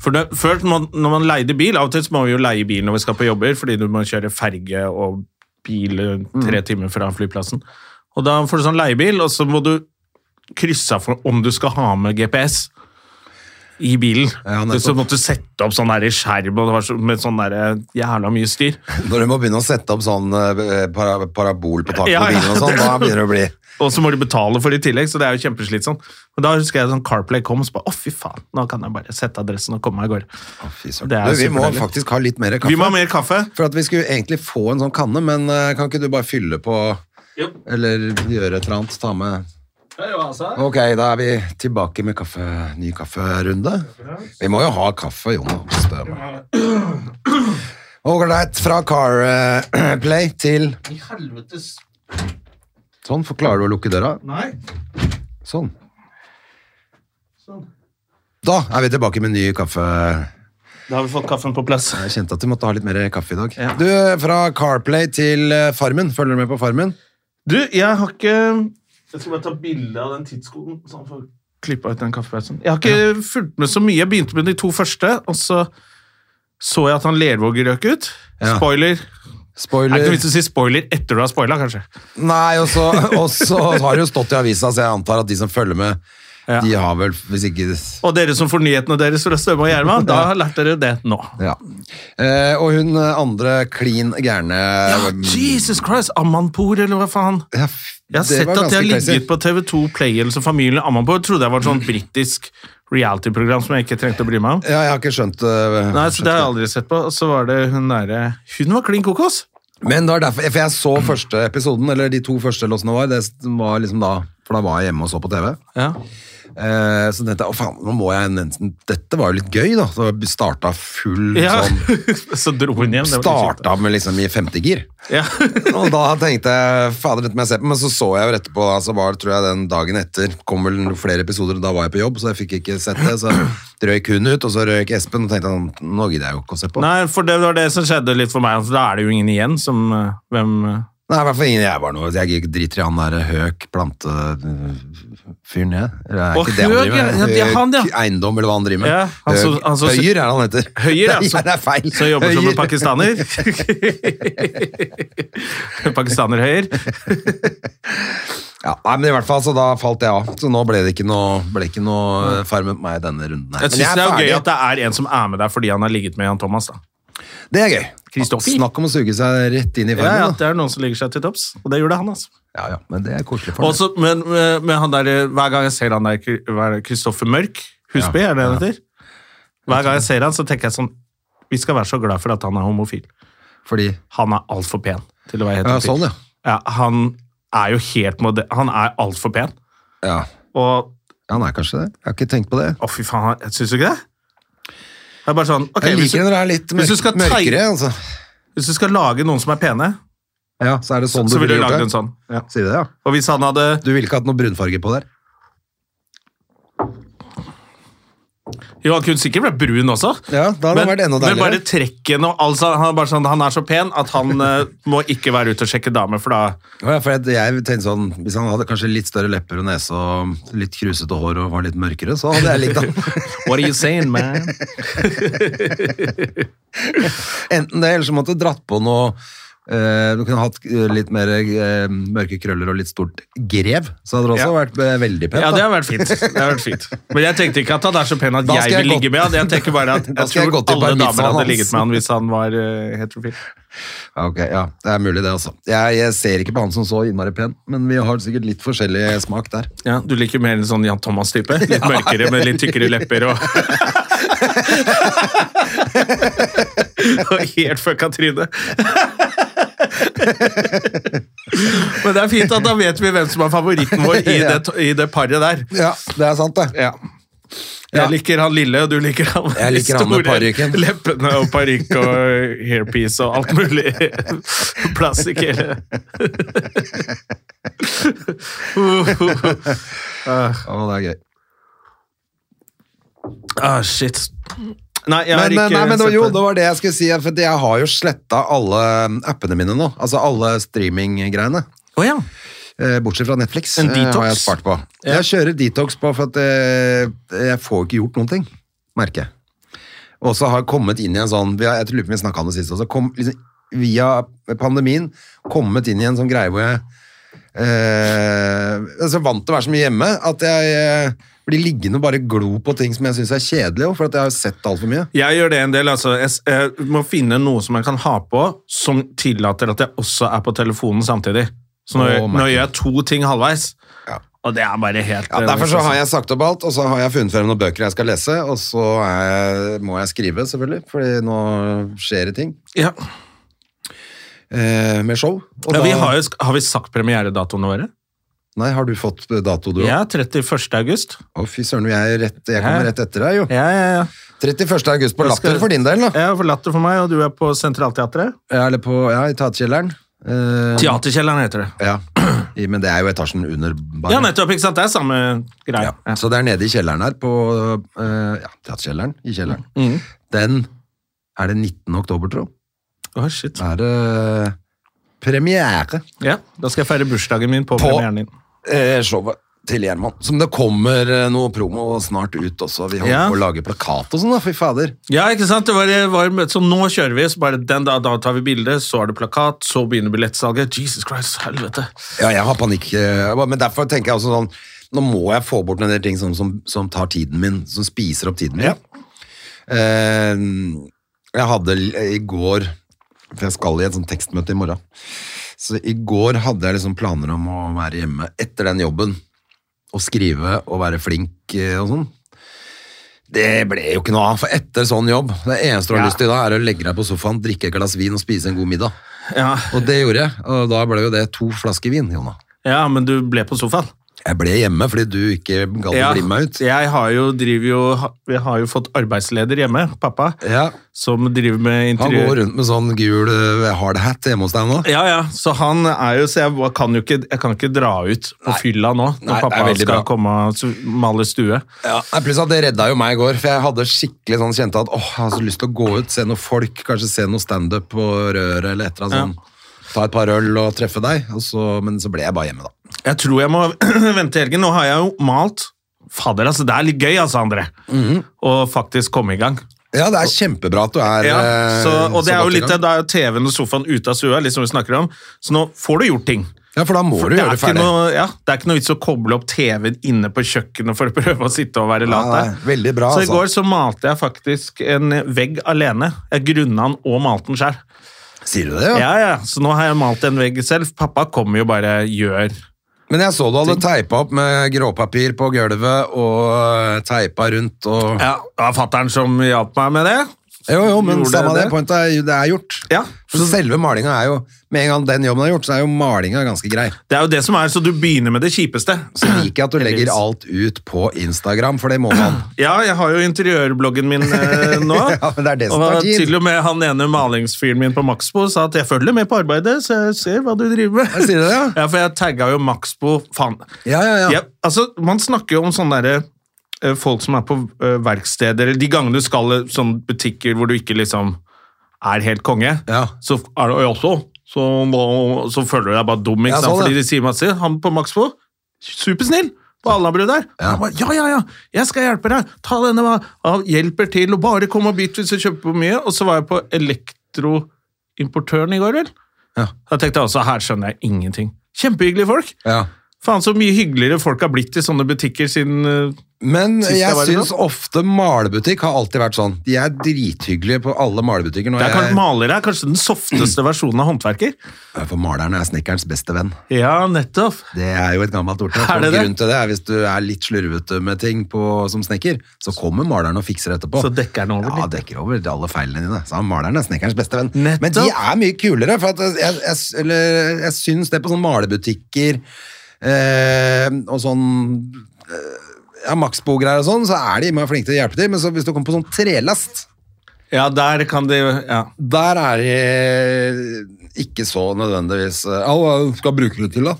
S2: For det, før, man- når man leide bil Av og til så må vi jo leie bil når vi skal på jobber, fordi du må kjøre ferge og
S1: Mm.
S2: bil eh, tre timer fra flyplassen. Og da får du sånn leiebil, og så må du kryssa for om du skal ha med GPS i bilen.
S1: Ja, nettopp.
S2: Du- så måtte du sette opp sånn der i skjerm og det var så, med sånn der jævla mye styr.
S1: Når du må begynne å sette opp sånn eh, para, parabol på taket
S2: Ja,
S1: på
S2: ja.
S1: bilen og sånn, da begynner det å bli
S2: Og så må du betale for det i tillegg, så det er jo kjempeslitsomt. Men da husker jeg sånn Carplay kom, og så bare å, fy faen, nå kan jeg bare sette adressen og komme meg av gårde.
S1: Å, Fy søren.
S2: Det er
S1: Du, Vi må
S2: superdeilig.
S1: faktisk ha litt mer kaffe.
S2: Vi må ha mer kaffe.
S1: For at vi skulle egentlig få en sånn kanne, men eh, kan ikke du bare fylle på Eller gjøre et eller annet? Ta med Ok, da er vi tilbake med kaffe, ny kafferunde. Vi må jo ha kaffe, Jon. spør meg. Ålreit, fra Carplay til
S2: I helvetes
S1: Sånn, for klarer du å lukke døra?
S2: Nei.
S1: Sånn.
S2: Sånn.
S1: Da er vi tilbake med ny kaffe.
S2: Da har vi fått kaffen på plass.
S1: Jeg kjente at vi måtte ha litt mer kaffe i dag.
S2: Ja.
S1: Du, eh, fra Carplay til eh, Farmen. Følger du med på Farmen?
S2: Du, jeg har ikke Jeg skal bare ta bilde av den tidskoden, så han får klippa ut den kaffepausen. Jeg har ikke fulgt med så mye. Jeg begynte med de to første, og så så jeg at han Lervåg røk ut.
S1: Ja.
S2: Spoiler. Er det
S1: Spoiler.
S2: ikke noe vits i å si spoiler etter du har spoila, kanskje?
S1: Nei, og så, og så har det jo stått i avisa, så jeg antar at de som følger med,
S2: Ja.
S1: de har vel, hvis ikke
S2: Og dere som får nyhetene deres fra Støme og Gjerma, da har lært dere det nå.
S1: Ja. Eh, og hun eh, andre klin gærne
S2: Ja, Jesus Christ! Amanpour, eller hva faen?
S1: Ja, f-
S2: Jeg har
S1: det
S2: sett
S1: var
S2: at jeg har
S1: ganske Mm.
S2: ligget på TV2 Play eller så familien Amanpour. Trodde jeg var et sånn britisk reality-program som jeg ikke trengte å bry meg om.
S1: Ja, jeg har ikke skjønt eh,
S2: Nei, så Det har jeg aldri sett på. Og så var det hun derre Hun var klin kokos!
S1: Men det var derfor, for jeg så første episoden, eller de to første låsene var, det var liksom da For da var jeg hjemme og så på TV.
S2: Ja.
S1: Eh, så tenkte jeg å faen, nå må jeg nesten Dette var jo litt gøy, da. Så starta full
S2: ja.
S1: sånn
S2: så dro hun hjem. det var litt kjipt.
S1: Starta med liksom i femte gir.
S2: Ja.
S1: Og da tenkte jeg Fader, dette må jeg se på. Men så så jeg jo etterpå, da, så var det tror jeg den dagen etter kom vel flere episoder, og da var jeg på jobb, så jeg fikk ikke sett det. Så røyk hun ut, og så røyk Espen, og tenkte han nå gidder jeg jo ikke å se på. Nei,
S2: Nei, for det var det som skjedde litt for meg. For da er det jo ingen igjen som eh, Hvem eh,
S1: i hvert fall ingen jeg var noe Jeg driter i han der høk plantefyren, jeg. Eller er
S2: Å,
S1: ikke det han
S2: Høg,
S1: driver med?
S2: ja, det er han, ja.
S1: Høg eiendom, eller hva han driver med.
S2: Ja, han som-
S1: Høg-
S2: han som-
S1: Høyer er han heter.
S2: Høyer, ja.
S1: Nei,
S2: Som,
S1: det er feil.
S2: som jobber som en
S1: Høyer.
S2: pakistaner. pakistaner Høyer.
S1: Ja, nei, men i hvert fall, så da falt jeg av. Så nå ble det ikke noe, ble ikke noe eh, farm med meg i denne runden her.
S2: Jeg
S1: Men
S2: syns det er jo
S1: ferdig.
S2: gøy at det er en som er med deg fordi han har ligget med Jan Thomas. da.
S1: Det er gøy.
S2: Kristoffer.
S1: Snakk om å suge seg rett inn i
S2: Ja, ja,
S1: farmen. da.
S2: det er noen som ligger seg til topps, og det gjorde han. altså.
S1: Ja, ja, men det er koselig for deg.
S2: Også, men eh, men han der, eh, hver gang jeg ser han der Kri- hva er det, Kristoffer Mørk, Husby, er det han heter? Hver gang jeg ser han, så tenker jeg sånn Vi skal være så glad for at han er homofil.
S1: Fordi
S2: Han er altfor pen til å være
S1: Ja,
S2: heterofil.
S1: sånn, ja.
S2: Ja, han er jo helt mode... Han er altfor pen.
S1: ja.
S2: Og
S1: Han er kanskje det. Jeg har ikke tenkt på det.
S2: Å, fy faen, han- syns du ikke det? Det er bare sånn ok,
S1: Jeg
S2: hvis,
S1: liker
S2: du,
S1: når det er litt
S2: hvis
S1: mørk,
S2: du skal tei-
S1: mørkere, altså.
S2: hvis du skal lage noen som er pene,
S1: Ja, så er det sånn
S2: så
S1: du
S2: ville
S1: ville
S2: du
S1: gjort
S2: lagd
S1: det.
S2: en sånn. Ja.
S1: Sier du det, ja?
S2: Og hvis han hadde
S1: Du ville ikke hatt noe brunfarge på der?
S2: Jo, han kunne sikkert vært brun også.
S1: Ja, da hadde det vært enda
S2: men
S1: deiligere.
S2: bare trekken og altså, han, er bare sånn, han er så pen at han eh, må ikke være ute og sjekke damer, for da
S1: Ja, for jeg, jeg tenkte sånn, Hvis han hadde kanskje litt større lepper og nese og litt krusete hår og var litt mørkere, så hadde jeg likt han.
S2: What are you saying, man?
S1: Enten det, eller så måtte du dratt på noe eh, Du kunne hatt eh, litt mer eh, mørke krøller og litt stort grev. Så hadde det også
S2: Ja.
S1: vært eh, veldig pent.
S2: Ja,
S1: da.
S2: det har vært fint. Det har vært fint. Men jeg tenkte ikke at han er så pen at
S1: Da skal
S2: jeg
S1: jeg
S2: vil
S1: gått-
S2: ligge med han. Jeg tenker bare at
S1: Da
S2: jeg
S1: skal jeg
S2: tror
S1: gått i
S2: alle
S1: parmisen
S2: damer hadde
S1: hans.
S2: ligget med han hvis han var eh, heterofil.
S1: Ja, Ok, ja, Det er mulig, det også. Jeg, jeg ser ikke på han som så innmari pen, men vi har sikkert litt forskjellig smak der.
S2: Ja, du liker mer en sånn Jan Thomas-type? Litt mørkere, med litt tykkere lepper og Og helt fucka tryne. Men det er fint at da vet vi hvem som er favoritten vår i det, i det paret der.
S1: Ja, det er sant, det. Ja.
S2: Jeg liker han lille, og du liker han med
S1: Jeg liker han med
S2: store
S1: parykken.
S2: leppene og parykk og hairpiece og alt mulig. Plastikk hele
S1: Ja, det er gøy.
S2: Ah, shit. Nei, jeg har
S1: Men, eh,
S2: ikke
S1: nei, men det var,
S2: sett
S1: jo,
S2: på-
S1: det var det jeg skulle si, for jeg har jo sletta alle appene mine nå. Altså alle streaminggreiene.
S2: Å ja.
S1: Eh, Bortsett fra Netflix
S2: En
S1: eh,
S2: detox?
S1: har jeg spart på.
S2: Ja.
S1: Jeg kjører detox på for at eh, jeg får ikke gjort noen ting, merker jeg. Og så har jeg kommet inn i en sånn vi har- Jeg lurer på om vi snakka om det sist også. Kom, liksom, via pandemien kommet inn i en sånn greie hvor jeg eh, altså, vant til å være så mye hjemme at jeg eh, blir liggende og bare glo på ting som jeg syns er kjedelig, jo, for at jeg har sett altfor mye.
S2: Jeg gjør det en del. altså. Jeg, s- jeg må finne noe som jeg kan ha på, som tillater at jeg også er på telefonen samtidig. Så nå,
S1: Å,
S2: gjør-
S1: merkelig.
S2: nå gjør jeg to ting halvveis, og det er sånn. bare helt eh,
S1: Ja, derfor så har jeg sagt opp alt, og så har jeg funnet frem noen bøker jeg skal lese, og så er, må jeg skrive, selvfølgelig, fordi nå skjer det ting
S2: Ja.
S1: eh, med show. og
S2: Ja, vi
S1: da-
S2: har, jo, sk- har vi sagt premieredatoene våre?
S1: Nei, har du fått eh, dato, du òg?
S2: Ja, 31. august.
S1: Å, fy søren, jeg, er rett, jeg kommer
S2: Ja.
S1: rett etter deg, jo.
S2: Ja, ja, ja.
S1: 31. august på
S2: Jeg skal-
S1: Latter for din del, da.
S2: Jeg har forlatt det for meg, og du er på Sentralteatret.
S1: Ja, eller på ja, i teaterkjelleren. Eh,
S2: Teaterkjelleren heter det.
S1: Ja. I, men det er jo etasjen under bare.
S2: Ja, nettopp. ikke sant? Det er samme greia.
S1: Ja. Så det er nede i kjelleren her, på eh, ja, teaterkjelleren. I kjelleren.
S2: Mm.
S1: Den er det 19. oktober, tro.
S2: Åh, shit.
S1: Er det premiere
S2: Ja, Da skal jeg feire bursdagen min på,
S1: På-
S2: premieren din.
S1: eh, showet til Gjerman. Som det kommer eh, noe promo snart ut også. Vi holder
S2: Ja.
S1: på å lage plakat og sånn, da. Fy fader.
S2: Ja, ikke sant? Det var, var, så nå kjører vi, så bare den da, da tar vi bilde, så er det plakat, så begynner billettsalget. Jesus Christ, helvete.
S1: Ja, jeg har panikk. eh, Men derfor tenker jeg også sånn Nå må jeg få bort en del ting som, som, som tar tiden min, som spiser opp tiden min. Eh, jeg hadde l- i går For jeg skal i et sånt tekstmøte i morgen. Så i går hadde jeg liksom planer om å være hjemme etter den jobben. Og skrive og være flink eh, og sånn. Det ble jo ikke noe av, for etter sånn jobb Det eneste du har lyst til da, er å legge deg på sofaen, drikke et glass vin og spise en god middag.
S2: Ja,
S1: Og det gjorde jeg, og da ble jo det to flasker vin, Jonna.
S2: ja men du ble på sofaen.
S1: Jeg ble hjemme fordi du ikke gadd å
S2: Ja,
S1: bli med meg ut.
S2: jeg har jo, driver jo, vi har jo fått arbeidsleder hjemme, pappa,
S1: Ja,
S2: som driver med
S1: Han
S2: interiør.
S1: går rundt med sånn gul eh, hard hat hjemme hos deg nå.
S2: Ja, ja, så han er jo, så jeg kan jo ikke, jeg kan ikke dra ut på fylla nå,
S1: Nei,
S2: når
S1: det er
S2: pappa
S1: veldig
S2: skal
S1: bra.
S2: komme og s- male stue.
S1: Ja, nei, pluss at Det redda jo meg i går, for jeg hadde skikkelig sånn kjente at åh, jeg har så lyst til å gå ut, se noe folk, kanskje se noe standup på røret eller et eller annet sånn. Ta et par øl og treffe deg, og så, men så ble jeg bare hjemme, da.
S2: Jeg tror jeg må vente til helgen. Nå har jeg jo malt. Fader, altså, det er litt gøy, altså, André.
S1: Mhm.
S2: Å faktisk komme i gang.
S1: Ja, det er kjempebra at du er
S2: Ja, så,
S1: eh,
S2: og det er
S1: så
S2: jo
S1: godt i gang.
S2: litt, det, Da er jo TV-en og sofaen ute av stua, litt som vi snakker om. Så nå får du gjort ting.
S1: Ja, for da må
S2: For
S1: du
S2: det,
S1: gjøre
S2: er
S1: det
S2: ikke
S1: ferdig.
S2: noe, ja, det er ikke noe vits å koble opp TV-en inne på kjøkkenet for å prøve å sitte og være lat
S1: Nei,
S2: der.
S1: nei, veldig bra,
S2: så i
S1: altså.
S2: går så malte jeg faktisk en vegg alene. Jeg grunna den og malte den sjøl.
S1: Sier du det,
S2: Ja, ja. Så nå har jeg malt en vegg selv. Pappa kommer jo bare gjør
S1: Men jeg så du hadde teipa opp med gråpapir på gulvet og teipa rundt og
S2: Ja, det var fatter'n som hjalp meg med det.
S1: Jo, jo, men
S2: Gjorde
S1: samme det.
S2: det?
S1: Pointet er jo det er gjort.
S2: Ja.
S1: For selve malinga er jo Med en gang den jobben er gjort, så er jo malinga ganske grei.
S2: Det er jo det som er, så du begynner med det kjipeste.
S1: Så liker jeg at du legger alt ut på Instagram, for det må man.
S2: Ja, jeg har jo interiørbloggen min eh, nå.
S1: Ja, men det er det som
S2: og
S1: tar tid.
S2: Til og med han ene malingsfyren min på Maxbo sa at jeg følger med på arbeidet, så jeg ser hva du driver med.
S1: Jeg sier det, ja.
S2: Ja, for jeg tagga jo Maxbo. Faen.
S1: Ja, ja, ja.
S2: Jeg- altså, man snakker jo om sånne derre eh, folk som er på eh, verksteder, eller de gangene du skal eh, sånne butikker hvor du ikke liksom er helt konge,
S1: Ja.
S2: så er det jo også så, må- så føler du deg bare dum,
S1: Ja,
S2: ikke sant?
S1: sånn, ja.
S2: Fordi de sier masse. Han på Maxbo, supersnill på Alnabru der.
S1: Ja.
S2: Han bare, ja, ja, ja, jeg skal hjelpe deg. Ta denne, hva? Han hjelper til, og bare kom og bytt hvis du kjøper for mye. Og så var jeg på elektroimportøren i går, vel?
S1: Ja.
S2: Da tenkte jeg også, her skjønner jeg ingenting. Kjempehyggelige folk.
S1: ja.
S2: Faen, så mye hyggeligere folk har blitt i sånne butikker siden eh,
S1: Men
S2: Sist jeg
S1: jeg
S2: var i
S1: syns ofte malebutikk har alltid vært sånn. De er drithyggelige på alle malebutikker. Når
S2: det er kanskje,
S1: jeg,
S2: Malere er kanskje den softeste versjonen av håndverker.
S1: for maleren er snekkerens beste venn.
S2: Ja, nettopp.
S1: Det er jo et gammelt ordtak.
S2: Er det
S1: og
S2: det?
S1: Grunnen til det er hvis du er litt slurvete med ting på, som snekker, så kommer maleren og fikser etterpå.
S2: Så dekker den over
S1: Ja,
S2: litt.
S1: dekker over alle feilene dine. Så han maleren er snekkerens beste venn.
S2: Nettopp.
S1: Men de er mye kulere, for at jeg, jeg, eller, jeg syns det på sånne malebutikker eh, og sånn eh, ja, Maxbo-greier og sånn, så er de innmari flinke til å hjelpe til, men så hvis du kommer på sånn trelast,
S2: Ja, der kan de ja.
S1: der er de ikke så nødvendigvis eh, «Au, Hva skal jeg bruke det til, da?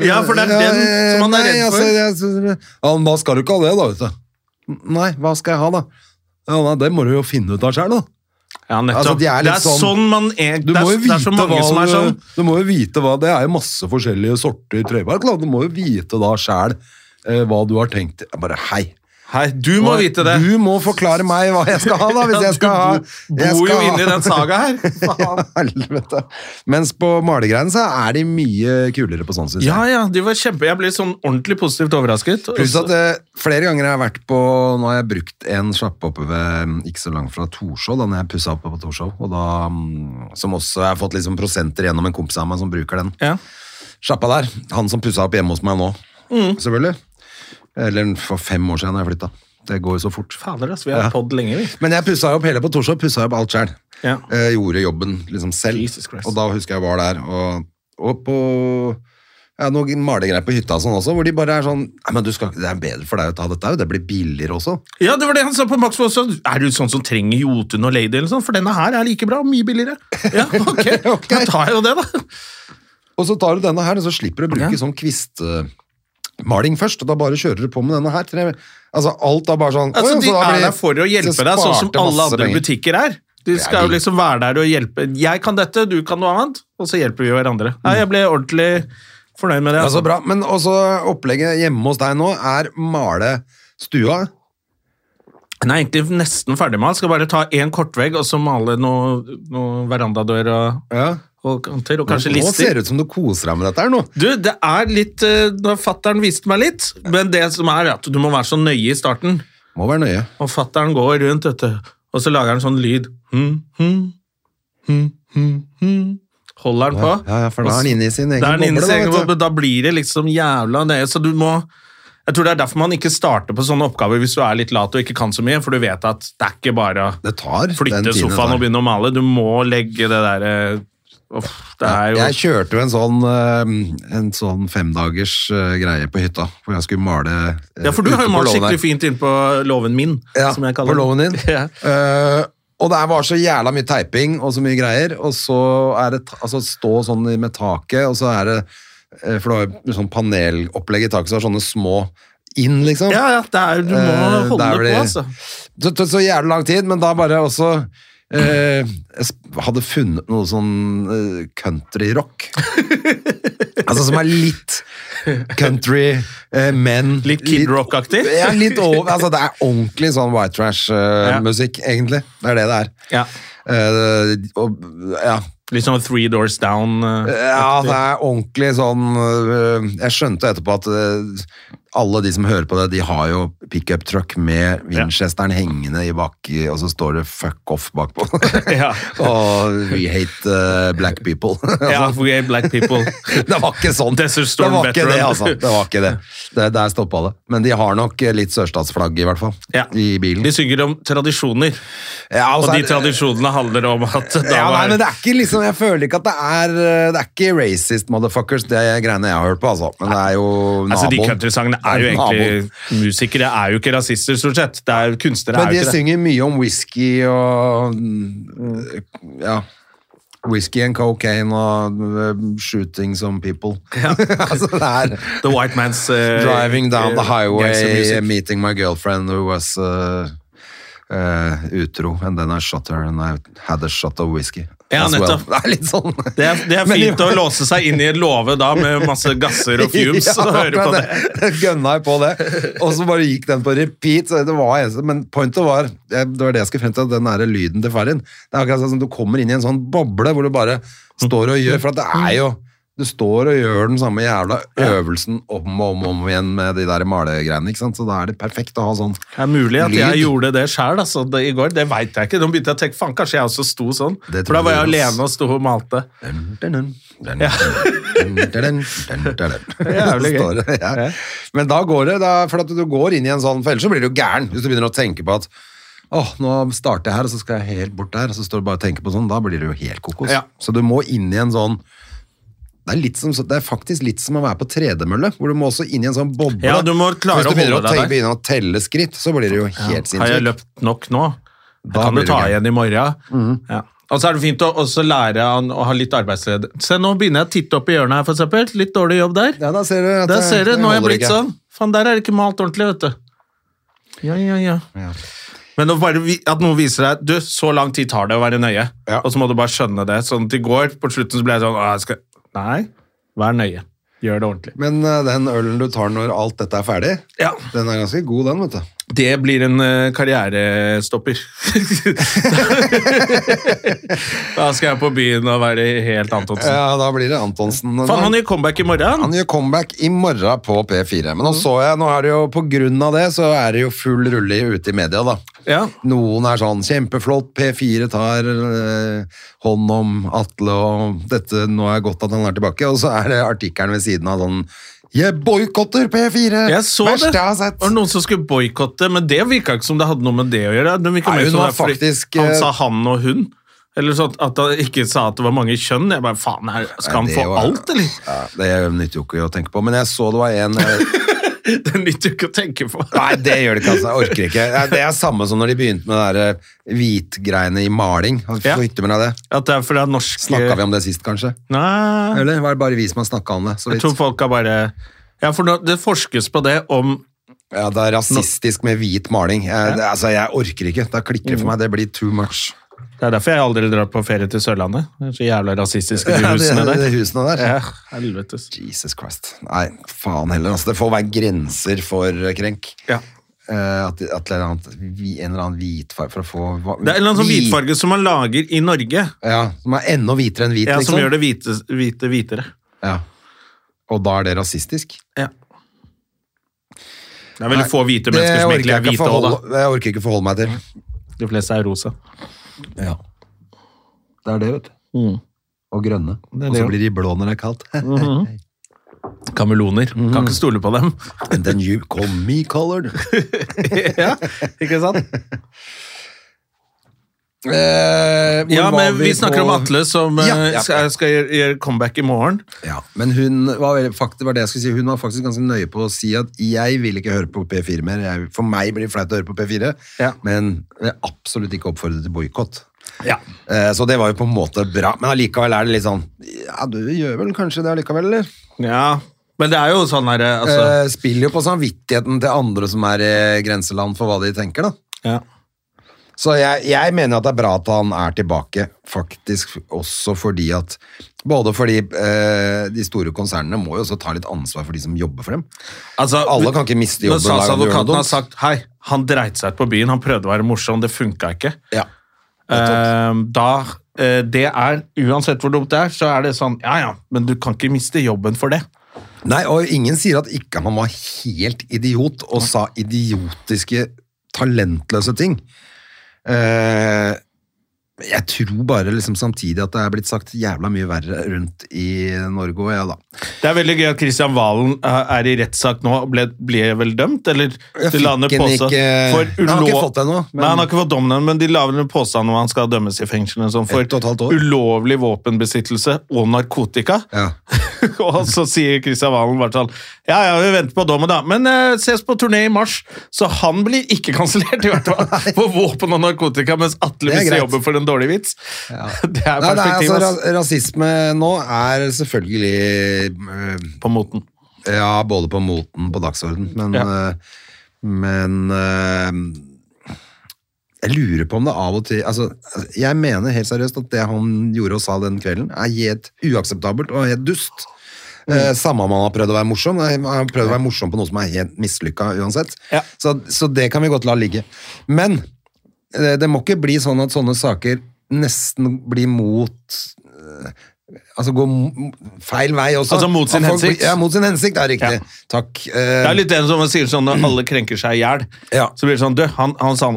S2: ja, for det er den som man er
S1: Nei,
S2: redd for.
S1: altså, jeg synes- ja, men da skal du ikke ha det, da, vet du. Nei, hva skal jeg ha, da? Ja, nei, det må du jo finne ut av sjøl, da.
S2: Ja, nettopp.
S1: Altså, de er
S2: det
S1: litt
S2: er
S1: sånn-
S2: sånn, man er,
S1: Du
S2: det,
S1: må
S2: er,
S1: jo
S2: det er
S1: vite
S2: så mange
S1: hva
S2: som er sånn
S1: du, du må jo vite hva Det er jo masse forskjellige sorter treverk, da. Du må jo vite da sjæl eh, hva du har tenkt. Jeg bare hei.
S2: Hei, du må vite det!
S1: Du må forklare meg hva jeg skal ha, da, hvis jeg skal ha
S2: Du bor jo inne i den saga her! Faen.
S1: Helvete. Mens på malegreiene så er de mye kulere på sånn, syns
S2: Ja, ja, de var kjempe... Jeg ble sånn ordentlig positivt overrasket. Og
S1: Pluss
S2: så-
S1: at eh, flere ganger jeg har vært på Nå har jeg brukt en sjappe oppe ved mm, ikke så langt fra Torshov, da når jeg pussa opp på Torshov, og da, mm, som også jeg har fått liksom prosenter gjennom en kompis av meg som bruker den
S2: Ja.
S1: sjappa der. Han som pussa opp hjemme hos meg nå, selvfølgelig. Eller for fem år siden da jeg flytta. Det går jo så fort.
S2: Fader, ass, vi har podd lenge, vi.
S1: Men jeg pussa opp hele på Torshov, pussa opp alt sjøl.
S2: Ja.
S1: Eh, gjorde jobben liksom selv.
S2: Jesus Christ.
S1: Og da husker jeg var der, og, og på ja, noen malegreier på hytta og sånn også, hvor de bare er sånn Nei, men du skal, Det er bedre for deg å ta dette òg, det blir billigere også.
S2: Ja, det var det han sa på Max også. Er du sånn som trenger Jotun og Lady eller sånn? For denne her er like bra, og mye billigere. Ja, ok.
S1: Ok.
S2: Da tar jeg jo det, da.
S1: Og så tar du denne her, og så slipper du å bruke
S2: Ja.
S1: sånn kvistmaling først, og da bare kjører du på med denne her. Tre, altså alt er bare sånn
S2: Altså,
S1: «Å ja,
S2: de
S1: så da
S2: er
S1: blir-
S2: der for å hjelpe
S1: så
S2: deg, sånn som
S1: sparte
S2: alle
S1: masse
S2: andre
S1: penger.
S2: butikker er. De
S1: er
S2: skal jo
S1: de.
S2: liksom være der og hjelpe. Jeg kan dette, du kan noe annet, og så hjelper vi hverandre.
S1: Mm.
S2: Nei, jeg ble ordentlig fornøyd med det.
S1: Ja,
S2: altså.
S1: så bra. Men også opplegget hjemme hos deg nå er male stua.
S2: Den er egentlig nesten ferdig med den. Skal bare ta én kortvegg og så male noe, noe verandadør og,
S1: Ja.
S2: og kanter, og kanskje
S1: nå ser
S2: lister.
S1: det ut som du koser deg med dette her nå.
S2: Du, det er litt eh, Når fattern viste meg litt, men det som er at du må være så nøye i starten.
S1: Må være nøye.
S2: Og fatteren går rundt, vet du. Og så lager han sånn lyd. Hmm, hmm, hmm, hmm, hmm. Holder han på.
S1: Ja, ja, ja, for da er han inne i sin egen
S2: Da er han inne i
S1: boble,
S2: sin
S1: da,
S2: egen
S1: vet du.
S2: boble. Da blir det liksom jævla nøye. Så du må Jeg tror det er derfor man ikke starter på sånne oppgaver hvis du er litt lat og ikke kan så mye, for du vet at det er ikke bare å
S1: Det tar den
S2: flytte
S1: tiden det
S2: sofaen
S1: tar.
S2: og begynne å male. Du må legge det derre Uff, det er jo
S1: Jeg kjørte jo en sånn, eh, en sånn femdagers eh, greie på hytta, hvor jeg skulle male eh,
S2: Ja, for du har
S1: ute
S2: jo
S1: på
S2: malt
S1: låven her.
S2: skikkelig fint inn på låven min,
S1: ja,
S2: som jeg
S1: på
S2: kaller
S1: låven din.
S2: Ja.
S1: Eh, og det her var så jævla mye teiping og så mye greier, og så er det ta- altså, stå sånn i- med taket, og så er det eh, For det var jo sånn panelopplegg i taket, så det var sånne små inn, liksom.
S2: Ja, ja, det er, du må
S1: Eh,
S2: holde
S1: der
S2: på,
S1: blir-
S2: altså.
S1: Det tok så jævlig lang tid, men da bare også eh, Jeg sp- hadde funnet noe sånn eh, countryrock. altså som er litt country, eh, men
S2: Litt Kid Rock-aktig?
S1: Ja, litt over. Altså, det er ordentlig sånn white
S2: Ja.
S1: trash-musikk, egentlig. Det er det det er.
S2: Ja.
S1: Eh, og, ja.
S2: Litt sånn Three Doors Down. eh.
S1: ja, det er ordentlig sånn eh, Jeg skjønte etterpå at eh, alle de som hører på det, de har jo pickup truck med Winchesteren hengende i baki, og så står det 'fuck off' bakpå.
S2: Ja.
S1: og 'we hate eh, black people'.
S2: Ja,
S1: altså,
S2: for gay black people.
S1: det var ikke sånn.
S2: Desert Storm
S1: det var ikke det,
S2: veteran.
S1: altså. Det var ikke det. det der stoppa det. Men de har nok eh, litt sørstatsflagg, i hvert fall.
S2: Ja.
S1: I bilen.
S2: De synger om tradisjoner,
S1: Ja,
S2: og
S1: så
S2: de
S1: er det-
S2: tradisjonene handler om at da
S1: ja, nei,
S2: var
S1: men det er ikke liksom, Jeg føler ikke at det er eh, Det er ikke racist motherfuckers, det er greiene jeg har hørt på, altså. Men det er jo naboen.
S2: Altså, De countrysangene er jo
S1: Det naboen.
S2: egentlig Musikere er jo ikke rasister, stort sett. Det er jo kunstnere
S1: Men
S2: er
S1: de
S2: jo ikke det.
S1: synger mye om whisky og mm, Ja. Whisky and cocaine og uh, shooting some people. altså, det er
S2: The White Man's eh,
S1: Driving down the
S2: eh, gangster
S1: highway,
S2: music.
S1: meeting my girlfriend who was uh, uh, utro, and then I shot her, and I had a shot of whisky.
S2: Ja,
S1: as well.
S2: nettopp.
S1: Det er litt sånn.
S2: Det er, det er
S1: Men i-
S2: fint å låse seg inn i en låve da med masse gasser og fumes og høre på det.
S1: Gønna jeg på det. Og så bare gikk den på repeat. Så det var, men pointet var Det var det jeg skulle frem til, den der lyden til Farin. Det er akkurat sånn som du kommer inn i en sånn boble hvor du bare står og gjør For at det er jo Du står og gjør den samme jævla øvelsen om og om, og om igjen med de der malegreiene, ikke sant. Så da er det perfekt å ha sånn.
S2: Det er mulig at jeg
S1: Lyd.
S2: gjorde det sjøl altså, det- i går. Det veit jeg ikke. Nå begynte jeg å tenke faen, kanskje jeg også sto sånn.
S1: Det
S2: For da
S1: tror
S2: var jeg
S1: jeg, ass.
S2: alene og sto og malte.
S1: Ja.
S2: Jævlig gøy.
S1: Står det, ja. Men da går det, da, for at du går inn i en sånn, for ellers så blir du gæren hvis du begynner å tenke på at åh, nå starter jeg her, og så skal jeg helt bort der, og så står du bare og tenker på sånn, da blir du jo helt kokos.
S2: Ja.
S1: Så du må inn i en sånn, det er, litt som, det er faktisk litt som å være på tredemølle, hvor du må også inn i en sånn boble.
S2: Ja, du må klare
S1: Hvis du
S2: å
S1: begynner å
S2: holde deg
S1: tenke- begynner å telle skritt, så blir det jo helt
S2: Har jeg
S1: sinnssykt.
S2: løpt nok nå? Jeg
S1: Da
S2: kan
S1: blir
S2: jo
S1: det
S2: ta
S1: gøy.
S2: igjen i morgen.
S1: Mm.
S2: Ja. Og så er det fint å også lære han å ha litt arbeidsledighet. Se, nå begynner jeg å titte opp i hjørnet her, for eksempel. Litt dårlig jobb der.
S1: Ja, da ser du at
S2: der
S1: det-
S2: ser du,
S1: det
S2: nå er jeg
S1: holder
S2: blitt
S1: ikke.
S2: sånn. Faen, der er det ikke malt ordentlig, vet du. Ja, ja, ja.
S1: Ja.
S2: Men å bare, vi- at noen viser deg Du, så lang tid tar det å være nøye.
S1: Ja.
S2: Og så må du bare skjønne det. Sånn at i går, på slutten, så ble jeg sånn «Åh, jeg skal... Nei, vær nøye. Gjør det ordentlig.
S1: Men eh, den ølen du tar når alt dette er ferdig,
S2: Ja.
S1: den er ganske god, den, vet du.
S2: Det blir en eh, karrierestopper. da skal jeg på byen og være helt Antonsen.
S1: Ja, da blir det Antonsen.
S2: Faen, han gjør comeback i morgen!
S1: Han gjør comeback i morgen på P4. Men nå
S2: Mm.
S1: så jeg, nå er det jo på grunn av det, så er det jo full rulle i- ute i media, da.
S2: Ja.
S1: Noen er sånn kjempeflott, P4 tar eh, hånd om Atle og dette, nå er det godt at han er tilbake. Og så er det artikkelen ved siden av sånn Jeg boikotter P4!
S2: Jeg så det!
S1: Verste jeg har
S2: Det
S1: sett!
S2: var noen som skulle boikotte, men det virka ikke som det hadde noe med det å gjøre. Det virket
S1: Nei,
S2: mer
S1: hun
S2: som det
S1: var
S2: er fordi
S1: faktisk, eh,
S2: Han sa han og hun. Eller sånn at han ikke sa at det var mange kjønn. Jeg bare, faen, her, Skal han
S1: Nei, det
S2: få
S1: var-
S2: alt, eller?
S1: Ja, det nytter jo ikke å tenke på. Men jeg så det var en eh,
S2: Det nytter jo ikke å tenke på.
S1: Nei, det gjør det ikke, altså. Jeg orker ikke. Nei, Det er samme som når de begynte med det der, eh, hvitgreiene i maling. Hva
S2: Ja.
S1: hytter med deg det?
S2: At det er fordi at norske
S1: Snakka vi om det sist, kanskje?
S2: Nei,
S1: Eller var det bare vi som har snakka om det? Så
S2: jeg
S1: vidt.
S2: tror folk har bare Ja, for nå, det forskes på det om
S1: Ja, det er rasistisk med hvit maling. Jeg, det, altså, jeg orker ikke. Da klikker det
S2: Mm.
S1: for meg. Det blir too much.
S2: Det er derfor jeg aldri drar på ferie til Sørlandet. Det er så jævla rasistiske
S1: Ja,
S2: de
S1: det-
S2: husene der.
S1: det husene der.
S2: Ja, helvetes.
S1: Jesus Christ. Nei, faen heller. Altså, det får være grenser for eh, krenk.
S2: Ja.
S1: Eh, at, at eller annet, vi- en eller annen hvitfarge for å få hva-
S2: Det er en eller annen sånn
S1: hvit-
S2: hvitfarge som man lager i Norge,
S1: Ja, Som er enda hvitere enn hvit,
S2: ja,
S1: liksom.
S2: som gjør det hvite, hvite hvitere.
S1: Ja. Og da er det rasistisk?
S2: Ja. Det er veldig få hvite
S1: Det
S2: mennesker som
S1: orker
S2: egentlig
S1: jeg,
S2: er
S1: ikke
S2: hvite òg,
S1: forholde, jeg orker ikke forholde meg til.
S2: da. De fleste er rosa.
S1: Ja. Det er det, vet du. Og grønne.
S2: er
S1: Og
S2: Mm. det,
S1: så
S2: ja. Mhm.
S1: blir de blå når det er kaldt. Mhm.
S2: Kameloner. Kan ikke stole på dem.
S1: And then you call me colored.
S2: ja, ikke sant?
S1: Eh, hvor
S2: Ja,
S1: var
S2: men vi snakker
S1: på-
S2: om Atle som eh,
S1: Ja, ja.
S2: skal, skal gjøre, gjøre comeback i morgen.
S1: Ja, men hun var, veldig- fakt, var det jeg skulle si, hun var faktisk ganske nøye på å si at jeg vil ikke høre på P4 mer. Jeg, for meg blir det flaut å høre på P4,
S2: Ja.
S1: men jeg er absolutt ikke oppfordret til boikott.
S2: Ja.
S1: Eh, så det var jo på en måte bra, men allikevel er det litt sånn Ja, du gjør vel kanskje det allikevel, eller?
S2: Men det er jo sånn her, eh, altså.
S1: eh, spiller jo på samvittigheten til andre som er i grenseland for hva de tenker, da.
S2: Ja.
S1: Så jeg, jeg mener at det er bra at han er tilbake, faktisk også fordi at Både fordi eh, de store konsernene må jo også ta litt ansvar for de som jobber for dem.
S2: Altså,
S1: Alle kan ikke miste jobben
S2: Når
S1: hver gang de gjør noe
S2: statsadvokaten
S1: dumt.
S2: har sagt hei, han dreit seg ut på byen, han prøvde å være morsom, det funka ikke.
S1: Ja.
S2: Ehm, da eh, det er, Uansett hvor dumt det er, så er det sånn ja ja, men du kan ikke miste jobben for det.
S1: Nei, og ingen sier at ikke han var helt idiot og sa idiotiske, talentløse ting. Eh, jeg tror bare liksom samtidig at det er blitt sagt jævla mye verre rundt i Norge òg, ja da.
S2: Det er veldig gøy at Kristian Valen eh, er i rettssak nå. Ble, ble vel dømt, eller?
S1: Jeg
S2: De
S1: fikk
S2: la ned
S1: en
S2: påstand
S1: ikke-
S2: for
S1: Han har ikke
S2: ulov-
S1: fått den nå, men-
S2: Nei, han har ikke fått dommen, ennå, men de la vel en påstand om han skal dømmes i fengsel eller sånn,
S1: Ett og et halvt år.
S2: for ulovlig våpenbesittelse og narkotika.
S1: Ja.
S2: og så sier Kristian Valen bare sånn Ja, ja, vi venter på dommen, da. Men eh, ses på turné i mars. Så han blir ikke kansellert, i hvert fall. For våpen og narkotika, mens
S1: Det
S2: Atle
S1: er
S2: mister
S1: greit.
S2: jobben for en dårlig vits.
S1: Nei, det
S2: Det er
S1: er, altså,
S2: perspektiv ass,
S1: ra- rasisme nå er selvfølgelig øh,
S2: på moten.
S1: Ja, både på moten på dagsorden, men,
S2: Ja.
S1: øh, men øh, jeg lurer på om det av og til altså, Jeg mener helt seriøst at det han gjorde og sa den kvelden, er helt uakseptabelt og helt dust.
S2: Mm.
S1: Eh, Samme om han har prøvd å være morsom. eh, Han har prøvd å være morsom på noe som er helt mislykka uansett.
S2: Ja.
S1: Så, så det kan vi godt la ligge. Men eh, det må ikke bli sånn at sånne saker nesten blir mot eh, Altså går m- feil vei også.
S2: Altså mot sin
S1: At folk blir-
S2: hensikt.
S1: Ja, mot sin hensikt, er riktig.
S2: Ja.
S1: Takk. Eh,
S2: Det er litt det som man sier sånn når alle krenker seg i hjel.
S1: Ja.
S2: Så blir det sånn Du, han, han sa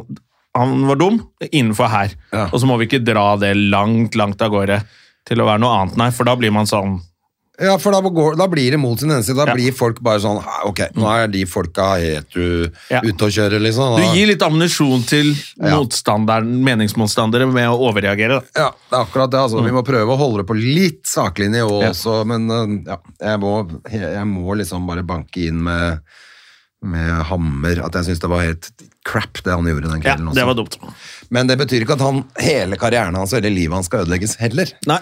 S2: han var dum innenfor her.
S1: Ja.
S2: Og så må vi ikke dra det langt, langt av gårde til å være noe annet, nei. For da blir man sånn
S1: Eh, Ja, for da, går, da blir det mot sin hensikt. Da
S2: Ja. Mm.
S1: blir folk bare sånn «Ah, Ok, nå er de folka helt u-
S2: Ja.
S1: ute å kjøre, liksom.
S2: Du
S1: Da-
S2: gir litt ammunisjon til
S1: Ja.
S2: motstanderen, meningsmotstandere med å overreagere. da.
S1: Ja, det er akkurat det. Altså. Vi må prøve å holde det på litt saklig nivå
S2: Mm. Ja.
S1: også, men eh, ja, jeg, må, jeg må liksom bare banke inn med, med hammer at jeg syns det var helt crap, det han gjorde den
S2: Ja,
S1: kvelden.
S2: det
S1: også.
S2: var dumt.
S1: Men det betyr ikke at han, hele karrieren hans og hele livet hans skal ødelegges heller.
S2: Nei.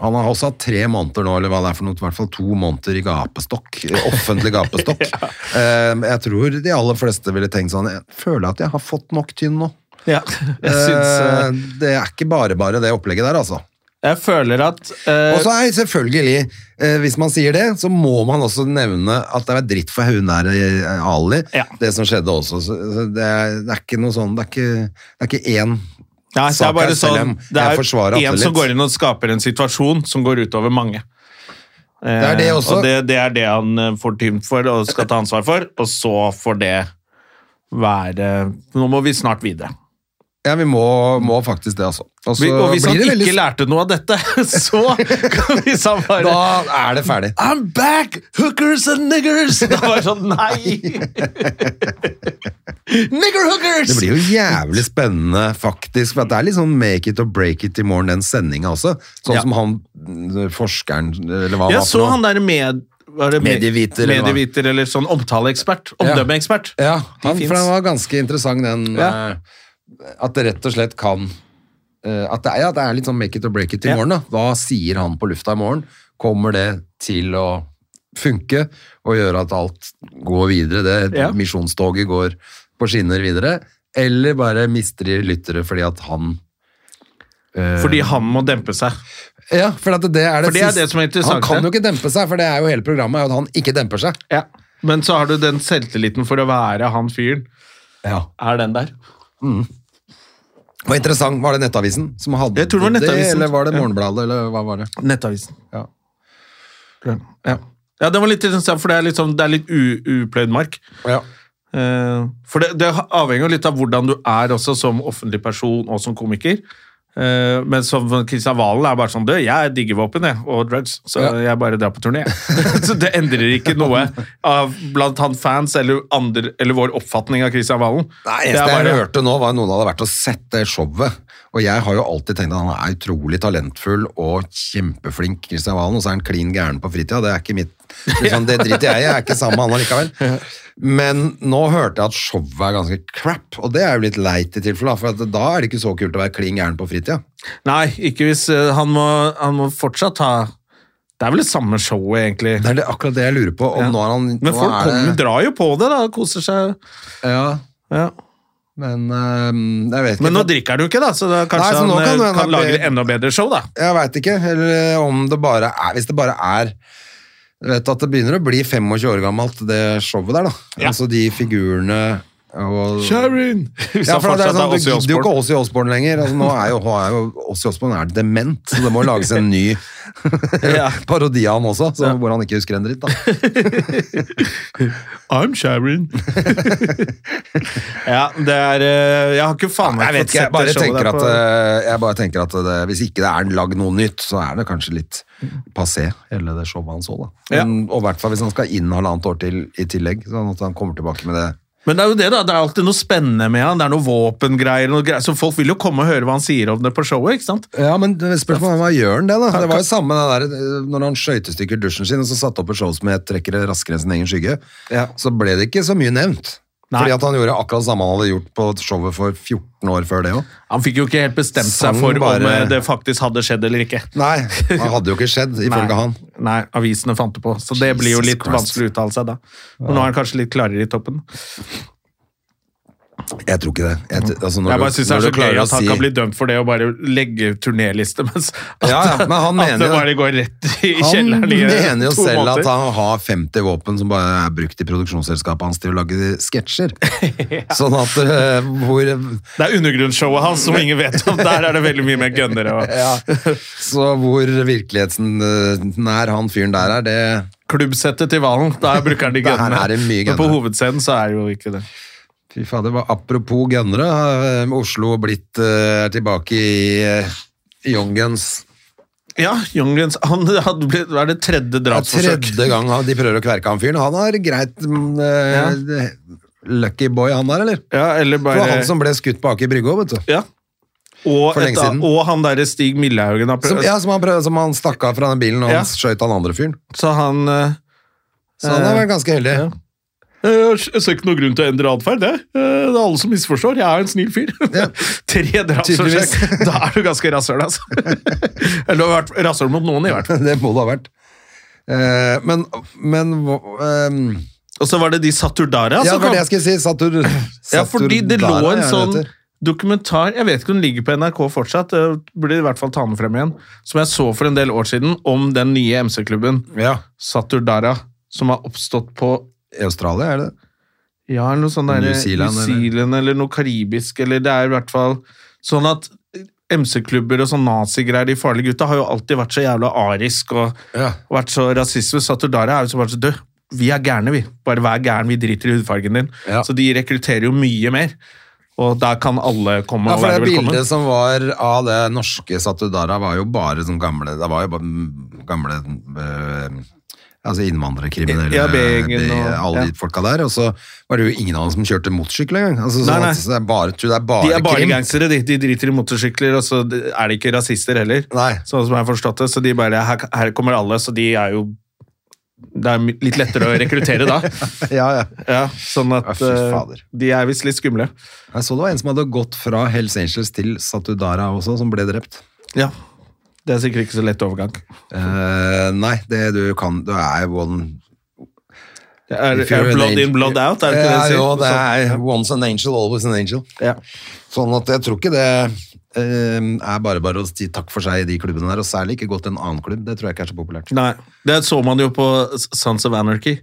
S1: Han har også hatt tre måneder nå, eller hva det er for noe, i hvert fall to måneder i gapestokk. i Offentlig gapestokk. Eh, Jeg tror de aller fleste ville tenkt sånn Jeg føler at jeg har fått nok tynn nå.
S2: Ja, jeg syns eh,
S1: Eh, Det er ikke bare bare det opplegget der, altså.
S2: Jeg føler at eh,
S1: Og så er selvfølgelig eh, hvis man sier det, så må man også nevne at det er dritt for hun der eh, Ali,
S2: Ja.
S1: det som skjedde også. Så, så det, er, det er ikke noe sånn, det er ikke, det er ikke én
S2: Nei, det
S1: sak
S2: er bare
S1: her, selv
S2: sånn,
S1: om jeg
S2: det er
S1: forsvarer
S2: en
S1: Atle
S2: som
S1: litt.
S2: går inn og skaper en situasjon som går utover mange. Det
S1: er det også.
S2: Og det, det er det han eh, får tymt for og skal ta ansvar for, og så får det være Nå må vi snart videre.
S1: Ja, vi må, må faktisk det, altså. Og så
S2: Vi, og hvis
S1: blir
S2: han
S1: det
S2: ikke
S1: veldig-
S2: lærte noe av dette, så kan vi sa bare
S1: Da er det ferdig.
S2: I'm back! Hookers and niggers! Det var det sånn, nei! Nigger hookers!
S1: Det blir jo jævlig spennende, faktisk. For at det er litt sånn make it or break it i morgen, den sendinga også. Sånn
S2: Ja.
S1: som han mm, forskeren, eller hva
S2: Jeg
S1: var
S2: så
S1: for
S2: han
S1: noe.
S2: der med... Var det med-
S1: Medieviter, eller hva?
S2: Medieviter, eller sånn omtaleekspert. Omdømmeekspert.
S1: Ja,
S2: De
S1: han,
S2: finnes.
S1: for den var ganske interessant, den.
S2: Ja.
S1: eh, At det rett og slett kan eh, at, det er, ja, det er litt sånn make it or break it i
S2: Ja.
S1: morgen, da. Hva sier han på lufta i morgen? Kommer det til å funke og gjøre at alt går videre? Det
S2: Ja.
S1: misjonstoget går på skinner videre? Eller bare mister de lyttere fordi at han Eh.
S2: Fordi han må dempe seg.
S1: Ja, for at det er det,
S2: For det er
S1: siste-
S2: det som er interessant,
S1: Han kan
S2: det.
S1: jo ikke dempe seg, for det er jo hele programmet er jo at han ikke demper seg.
S2: Men så har du den selvtilliten for å være han fyren. Er den der?
S1: Det var interessant, var det Nettavisen som hadde
S2: Jeg tror det var Nettavisen.
S1: eller var det
S2: Ja.
S1: Morgenbladet, eller hva var det?
S2: Nettavisen.
S1: Ja.
S2: Ja. ja, det var litt interessant, for det er litt, sånn, det er litt u, upløyd mark. Eh, for det, det avhenger jo litt av hvordan du er også som offentlig person og som komiker. Eh, men som Kristian Valen er bare sånn Du, jeg digger våpen jeg, og drugs, så
S1: Ja.
S2: jeg bare drar på turné. så det endrer ikke noe av blant han fans eller, andre, eller vår oppfatning av Kristian Valen.
S1: Nei,
S2: Det
S1: eneste
S2: er
S1: jeg
S2: bare-
S1: hørte nå var noen hadde vært og sett det showet, og jeg har jo alltid tenkt at han er utrolig talentfull og kjempeflink, Kristian Valen, og så er han klin gæren på fritida, det er ikke mitt, liksom, det driter jeg i, jeg er ikke sammen med han allikevel. Men nå hørte jeg at showet er ganske crap, og det er jo litt leit i tilfelle, da, for at da er det ikke så kult å være klin gæren på fritida.
S2: Nei, ikke hvis eh, han, må, han må fortsatt ha Det er vel det samme showet, egentlig.
S1: Det er det, akkurat det jeg lurer på, om
S2: Ja.
S1: nå er han...
S2: Men
S1: nå
S2: folk
S1: er
S2: kommer,
S1: det-
S2: drar jo på det, da. Koser seg.
S1: Ja,
S2: Ja.
S1: men øhm, jeg vet ikke.
S2: Men nå drikker du ikke, da, så da kanskje
S1: Nei, så nå
S2: han eh,
S1: kan det hende
S2: kan,
S1: at
S2: lage
S1: det-
S2: et enda bedre show, da.
S1: Jeg veit ikke, eller eh, om det bare er Hvis det bare er jeg vet at Det begynner å bli 25 år gammelt, det showet der. da
S2: Ja.
S1: Altså de figurene og
S2: Sharon! Hvis
S1: ja,
S2: han
S1: for det er
S2: fortsatt
S1: sånn,
S2: er
S1: Du gidder
S2: Ozzy
S1: jo ikke
S2: Osbourne.
S1: Åssi Osborn lenger. Altså, nå er jo, er jo Åssi Osborn er dement, så det må lages en ny
S2: Ja.
S1: parodi av han også, så, hvor han ikke husker en dritt. da.
S2: I'm Sharon. ja, det er eh, Jeg har ikke faen meg
S1: Jeg vet
S2: fått
S1: ikke, jeg
S2: sett
S1: bare
S2: det showet
S1: tenker
S2: der
S1: at,
S2: på-
S1: eh, jeg bare tenker at det, hvis ikke det er lagd noe nytt, så er det kanskje litt passé, hele det showet han så, da.
S2: Ja.
S1: Men, Og i hvert fall hvis han skal inn halvannet år til i tillegg, sånn at han kommer tilbake med det.
S2: Men det er jo det, da. Det er alltid noe spennende med han. Det er noe våpengreier, noe greier. så folk vil jo komme og høre hva han sier om det på showet, ikke sant?
S1: Ja, men spørsmålet hva gjør han det, da? Det var jo samme den der, eh, når han skøytestykker dusjen sin, og så satte opp et show som het 'Trekker det raskere enn sin egen skygge',
S2: Ja.
S1: så ble det ikke så mye nevnt.
S2: Nei.
S1: Fordi at han gjorde akkurat det samme han hadde gjort på showet for 14 år før det òg.
S2: Han fikk jo ikke helt bestemt
S1: Sang
S2: seg for om
S1: bare-
S2: eh, det faktisk hadde skjedd eller ikke.
S1: Nei, det hadde jo ikke skjedd, ifølge
S2: Nei.
S1: han.
S2: Nei, avisene fant det på, så det blir jo
S1: Jesus
S2: litt
S1: Christ.
S2: vanskelig å uttale seg da. Og nå er han kanskje litt klarere i toppen.
S1: Jeg tror ikke det. Jeg, t- altså, når
S2: jeg
S1: du-
S2: bare synes det
S1: når du
S2: er så gøy
S1: klarer å
S2: at han
S1: si-
S2: kan bli dømt for det og bare legge ut turnéliste, mens at,
S1: Ja, ja, men han
S2: at
S1: mener
S2: det
S1: jo-
S2: bare går rett i
S1: Han
S2: kjelleren i eh,
S1: mener jo
S2: to
S1: selv
S2: måneder.
S1: at han har 50 våpen som bare er brukt i produksjonsselskapet hans til å lage sketsjer. Sånn at eh, hvor
S2: Det er undergrunnsshowet hans som ingen vet om. Der er det veldig mye mer gønnere og
S1: Så hvor virkeligheten eh, nær han fyren der er, det
S2: klubbsettet til Valen. Der bruker han de
S1: Der
S2: gønnene.
S1: er det mye
S2: Men på
S1: gønnere.
S2: hovedscenen så er det jo ikke det.
S1: Fy fader, hva- apropos gønnere. eh, Oslo er blitt eh, er tilbake i eh, Young Guns.
S2: Ja, Youngrens, han hadde blitt, hva er det tredje
S1: Det er
S2: drapsforsøk?
S1: tredje gang han- de prøver å kverke han fyren. Han er greit mm, eh, Lucky boy, han der, eller?
S2: Ja, eller
S1: Det
S2: bare...
S1: var han som ble skutt bak i brygga, vet du.
S2: Ja. Og,
S1: For lenge
S2: et av-
S1: siden.
S2: og han derre Stig Millehaugen har
S1: Som,
S2: prøvd.
S1: ja, som han, prøv- som han stakk av fra den bilen, og
S2: Ja.
S1: han skjøt han andre fyren.
S2: Så han eh,
S1: Så han har vært ganske heldig.
S2: Ja. «Eh, Jeg ser ikke noen grunn til å endre atferd, jeg. Eh, Det er alle som misforstår. Jeg er en snill fyr. Tre drapsforsøk.
S1: Tydeligvis.
S2: Da er du ganske rasshøl, altså. Eller du har vært rasshøl mot noen, i hvert fall.
S1: Det må det ha vært. Eh, men men hva- ehm,
S2: Og så var det de Saturdara
S1: Ja,
S2: som
S1: det var
S2: kom.
S1: det jeg skulle si. Satur,
S2: ja, fordi det lå
S1: Saturdara,
S2: en
S1: ja, det
S2: sånn
S1: heter.
S2: dokumentar Jeg vet ikke om den ligger på NRK fortsatt. Jeg burde i hvert fall ta den frem igjen. Som jeg så for en del år siden, om den nye MC-klubben
S1: Ja.
S2: Saturdara, som har oppstått på
S1: I Australia, er det det?
S2: ja, eller noe sånt der,
S1: New Zealand,
S2: New
S1: eller?
S2: Zealand eller noe karibisk, eller det er i hvert fall sånn at MC-klubber og sånn nazigreier, de farlige gutta, har jo alltid vært så jævla arisk og
S1: Ja.
S2: vært så rasisme. Saturdara er jo så bare så død. Vi er gærne, vi. Bare vær gæren, vi driter i hudfargen din.
S1: Ja.
S2: Så de rekrutterer jo mye mer. Og der kan alle komme
S1: Ja,
S2: og
S1: for
S2: være
S1: det
S2: velkommen.
S1: bildet som var av det norske Satudara, var jo bare sånn gamle Det var jo bare mm, gamle øh, Altså innvandrerkriminelle
S2: Ja, B-gjengen
S1: de-
S2: og-
S1: Alle de folka der. Og så var det jo ingen av dem som kjørte motorsykkel engang. Altså,
S2: Nei,
S1: sånn
S2: nei.
S1: at det er bare, det er bare,
S2: De er bare
S1: krim.
S2: gangstere, de. De driter i motorsykler, og så er de ikke rasister heller.
S1: Nei.
S2: Sånn som jeg har forstått det. Så de bare Her, her kommer alle, så de er jo Det er my- litt lettere å rekruttere da.
S1: Ja, ja.
S2: Ja, sånn at
S1: Ja, fy
S2: eh,
S1: fader.
S2: de er visst litt skumle.
S1: Jeg så det var en som hadde gått fra Hells Angels til Satudara også, som ble drept.
S2: Ja. Det er sikkert ikke så lett overgang.
S1: Eh, nei, det du kan Du er jo one
S2: Er,
S1: if you're
S2: er
S1: an
S2: blood
S1: angel-
S2: in, blood out, er det ikke
S1: Ja,
S2: det de sier?
S1: Jo,
S2: Sånn.
S1: det er once an angel, always an angel.
S2: Ja.
S1: Sånn at jeg tror ikke det eh, er bare bare å si takk for seg i de klubbene der, og særlig ikke gå til en annen klubb. Det tror jeg ikke er så populært.
S2: Nei, det så man jo på Sons of Anarchy.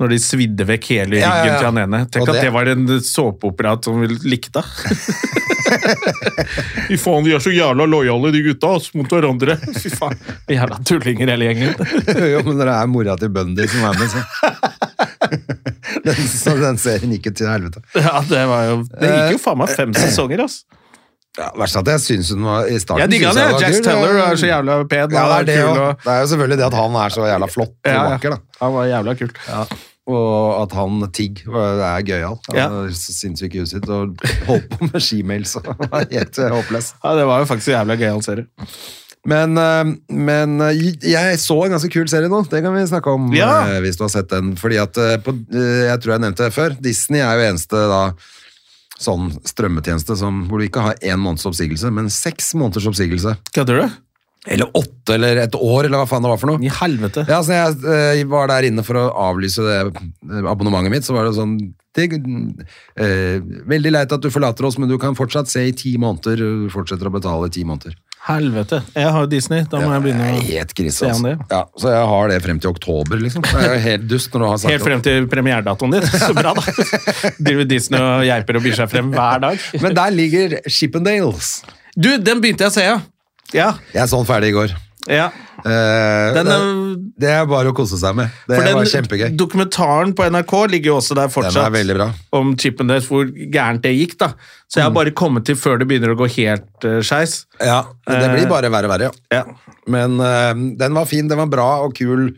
S2: Når de svidde vekk hele ryggen
S1: Ja, ja, ja.
S2: til han ene. Tenk
S1: Og det-
S2: at det var en såpeopera som vi likte. Fy faen, de er så jævla lojale, de gutta, ass, mot hverandre. Fy faen, de jævla tullinger hele gjengen.
S1: jo, men det er mora til Bundy som er med, så. den, så den serien gikk jo til helvete.
S2: Ja, det var jo Det gikk jo faen meg fem sesonger, ass.
S1: Ja, verst at jeg syns hun var i starten
S2: Jeg digga
S1: synes
S2: det.
S1: var
S2: Jax
S1: kul,
S2: Teller
S1: ja.
S2: er så jævla
S1: ja,
S2: pen.
S1: det er, det,
S2: kul,
S1: jo.
S2: og-
S1: det er jo selvfølgelig det at han er så jævla flott og
S2: Ja, ja.
S1: vakker, da.
S2: Han var jævla kult.
S1: Og at han tigg var- er gøyal.
S2: Ja.
S1: Han er så Sinnssyk i huset sitt og holdt på med skimails og var helt eh, håpløs.
S2: Ja, det var jo faktisk en jævla gøyal serie.
S1: Men, eh, men eh, jeg så en ganske kul serie nå, det kan vi snakke om
S2: Ja.
S1: eh, hvis du har sett den. Fordi at, eh, på, eh, jeg tror jeg nevnte det før, Disney er jo eneste da, sånn strømmetjeneste som, hvor du ikke har én måneds oppsigelse, men seks måneders oppsigelse.
S2: Kødder du?
S1: Eller åtte, eller et år, eller hva faen det var for noe.
S2: I helvete.
S1: Ja, så jeg eh, var der inne for å avlyse det eh, abonnementet mitt, så var det sånn det, eh, Veldig leit at du forlater oss, men du kan fortsatt se i ti måneder. Du fortsetter å betale i ti måneder.
S2: Helvete. Jeg har jo Disney, da må jeg
S1: Det
S2: begynne
S1: er
S2: å
S1: helt krise,
S2: se an
S1: altså.
S2: det.
S1: Ja, så jeg har det frem til oktober, liksom. Det er jo helt dust når du har sagt
S2: Helt frem til premieredatoen din. Så bra, da. Driver Disney og geiper og byr seg frem hver dag.
S1: det. Men der ligger Shippendales.
S2: Du, den begynte jeg å se, ja. Ja.
S1: Jeg så den ferdig i går.
S2: ja.
S1: Eh,
S2: Den,
S1: det,
S2: eh,
S1: det er bare å kose seg med. Det
S2: for
S1: var
S2: den
S1: kjempegøy.
S2: dokumentaren på NRK ligger jo også der
S1: Den
S2: fortsatt.
S1: er veldig bra. Mm.
S2: Om Chippendales, hvor gærent det gikk, da. Så jeg har bare kommet til før det begynner å gå helt uh, skeis.
S1: Ja, men det
S2: Eh,
S1: blir bare verre og verre, ja.
S2: Ja.
S1: Men eh, den var fin, den var bra og kul.